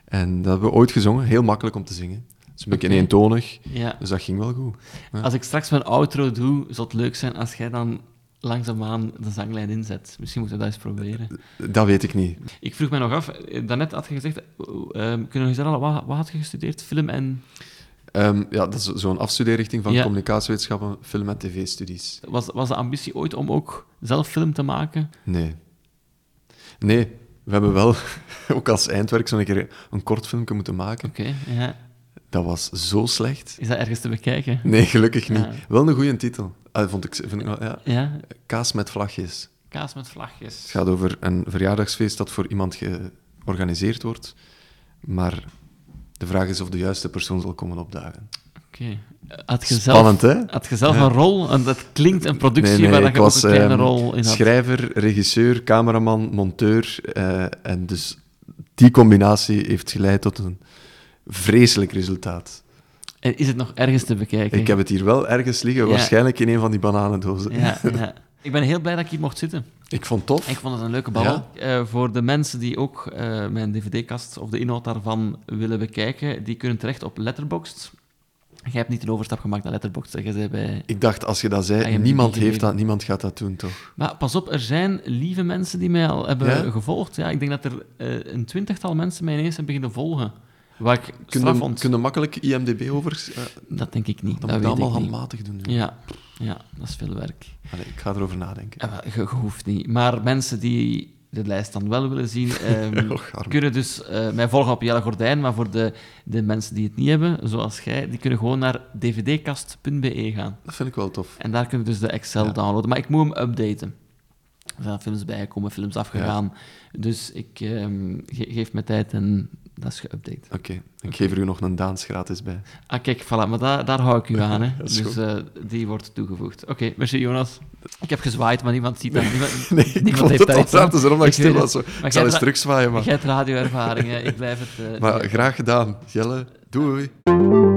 Speaker 2: En dat hebben we ooit gezongen, heel makkelijk om te zingen. Het is een beetje
Speaker 1: Oké.
Speaker 2: eentonig,
Speaker 1: ja.
Speaker 2: dus dat ging wel goed.
Speaker 1: Als ik straks mijn outro doe, zou het leuk zijn als jij dan langzaamaan de zanglijn inzet. Misschien moeten we dat eens proberen.
Speaker 2: Dat weet ik niet.
Speaker 1: Ik vroeg mij nog af, eh, daarnet had je gezegd, eh, ehm, kunnen we nog zeggen, wat, wat had je gestudeerd? Film en...
Speaker 2: Ehm, ja, dat is zo'n afstudeerrichting van
Speaker 1: Ja.
Speaker 2: communicatiewetenschappen, film- en tv-studies.
Speaker 1: Was, was de ambitie ooit om ook zelf film te maken?
Speaker 2: Nee. Nee, we hebben wel, ook als eindwerk, zo'n keer een kort filmpje moeten maken.
Speaker 1: Oké, ja.
Speaker 2: Dat was zo slecht.
Speaker 1: Is dat ergens te bekijken?
Speaker 2: Nee, gelukkig niet.
Speaker 1: Ja.
Speaker 2: Wel een goede titel. Ah, vond ik, vind ik wel, ja.
Speaker 1: Ja,
Speaker 2: Kaas met vlagjes.
Speaker 1: kaas met vlagjes.
Speaker 2: Het gaat over een verjaardagsfeest dat voor iemand georganiseerd wordt. Maar de vraag is of de juiste persoon zal komen opdagen.
Speaker 1: Oké. Had je
Speaker 2: Spannend,
Speaker 1: zelf,
Speaker 2: hè?
Speaker 1: Had je zelf een rol? En dat klinkt een productie waar dat je ook een kleine
Speaker 2: ehm,
Speaker 1: rol in had.
Speaker 2: schrijver, regisseur, cameraman, monteur. eh, en dus die combinatie heeft geleid tot een vreselijk resultaat.
Speaker 1: En is het nog ergens te bekijken?
Speaker 2: Ik heb het hier wel ergens liggen,
Speaker 1: Ja.
Speaker 2: waarschijnlijk in een van die bananendozen.
Speaker 1: Ja, ja. Ik ben heel blij dat ik hier mocht zitten.
Speaker 2: Ik vond het tof.
Speaker 1: Ik vond het een leuke babbel. Eh, voor de mensen die ook eh, mijn dvd-kast of de inhoud daarvan willen bekijken, die kunnen terecht op Letterboxd. Jij hebt niet een overstap gemaakt naar Letterboxd. hè. Jij zei bij...
Speaker 2: Ik dacht, als je dat
Speaker 1: Ah,
Speaker 2: zei,
Speaker 1: je hebt
Speaker 2: niemand,
Speaker 1: die
Speaker 2: heeft
Speaker 1: gegeven.
Speaker 2: dat, niemand gaat dat doen, toch?
Speaker 1: Maar pas op, er zijn lieve mensen die mij al hebben
Speaker 2: Ja?
Speaker 1: gevolgd. Ja, ik denk dat er eh, een twintigtal mensen mij ineens hebben beginnen volgen. Wat ik straf
Speaker 2: Kunnen
Speaker 1: vond.
Speaker 2: kunnen makkelijk IMDB over... eh,
Speaker 1: Dat denk ik niet.
Speaker 2: dan
Speaker 1: dat
Speaker 2: moet
Speaker 1: weet
Speaker 2: je allemaal
Speaker 1: ik niet.
Speaker 2: handmatig doen. nu.
Speaker 1: Ja. ja, dat is veel werk.
Speaker 2: Allee, ik ga erover nadenken.
Speaker 1: Eh, wel, Je, je hoeft niet. Maar mensen die de lijst dan wel willen zien, ehm,
Speaker 2: Och, arm.
Speaker 1: kunnen dus eh, mij volgen op Jelle Gordijn. Maar voor de, de mensen die het niet hebben, zoals jij, die kunnen gewoon naar dvdkast.be gaan.
Speaker 2: Dat vind ik wel tof.
Speaker 1: En daar kunnen we dus de Excel downloaden. Maar ik moet hem updaten. Er zijn films bijgekomen, films afgegaan. Dus ik ehm, ge- geef me tijd en dat is geüpdate.
Speaker 2: Oké, ik geef er u nog een Daans gratis bij.
Speaker 1: Ah, kijk, voilà, maar daar, daar hou ik u aan. Hè.
Speaker 2: Dat is
Speaker 1: dus
Speaker 2: goed.
Speaker 1: eh, die wordt toegevoegd. Oké, merci Jonas. Ik heb gezwaaid, maar niemand ziet dat. Niemand,
Speaker 2: Nee, ik
Speaker 1: niemand
Speaker 2: vond
Speaker 1: heeft
Speaker 2: het
Speaker 1: daar
Speaker 2: al
Speaker 1: iets aan.
Speaker 2: raar te zijn omdat ik
Speaker 1: weet
Speaker 2: stil
Speaker 1: het.
Speaker 2: was, hoor.
Speaker 1: Maar
Speaker 2: Ik
Speaker 1: jij
Speaker 2: zal eens
Speaker 1: dra-
Speaker 2: terugzwaaien, maar-
Speaker 1: Jij hebt radioervaring, hè. ik blijf het... eh,
Speaker 2: Maar
Speaker 1: zeggen.
Speaker 2: graag gedaan. Jelle, doei.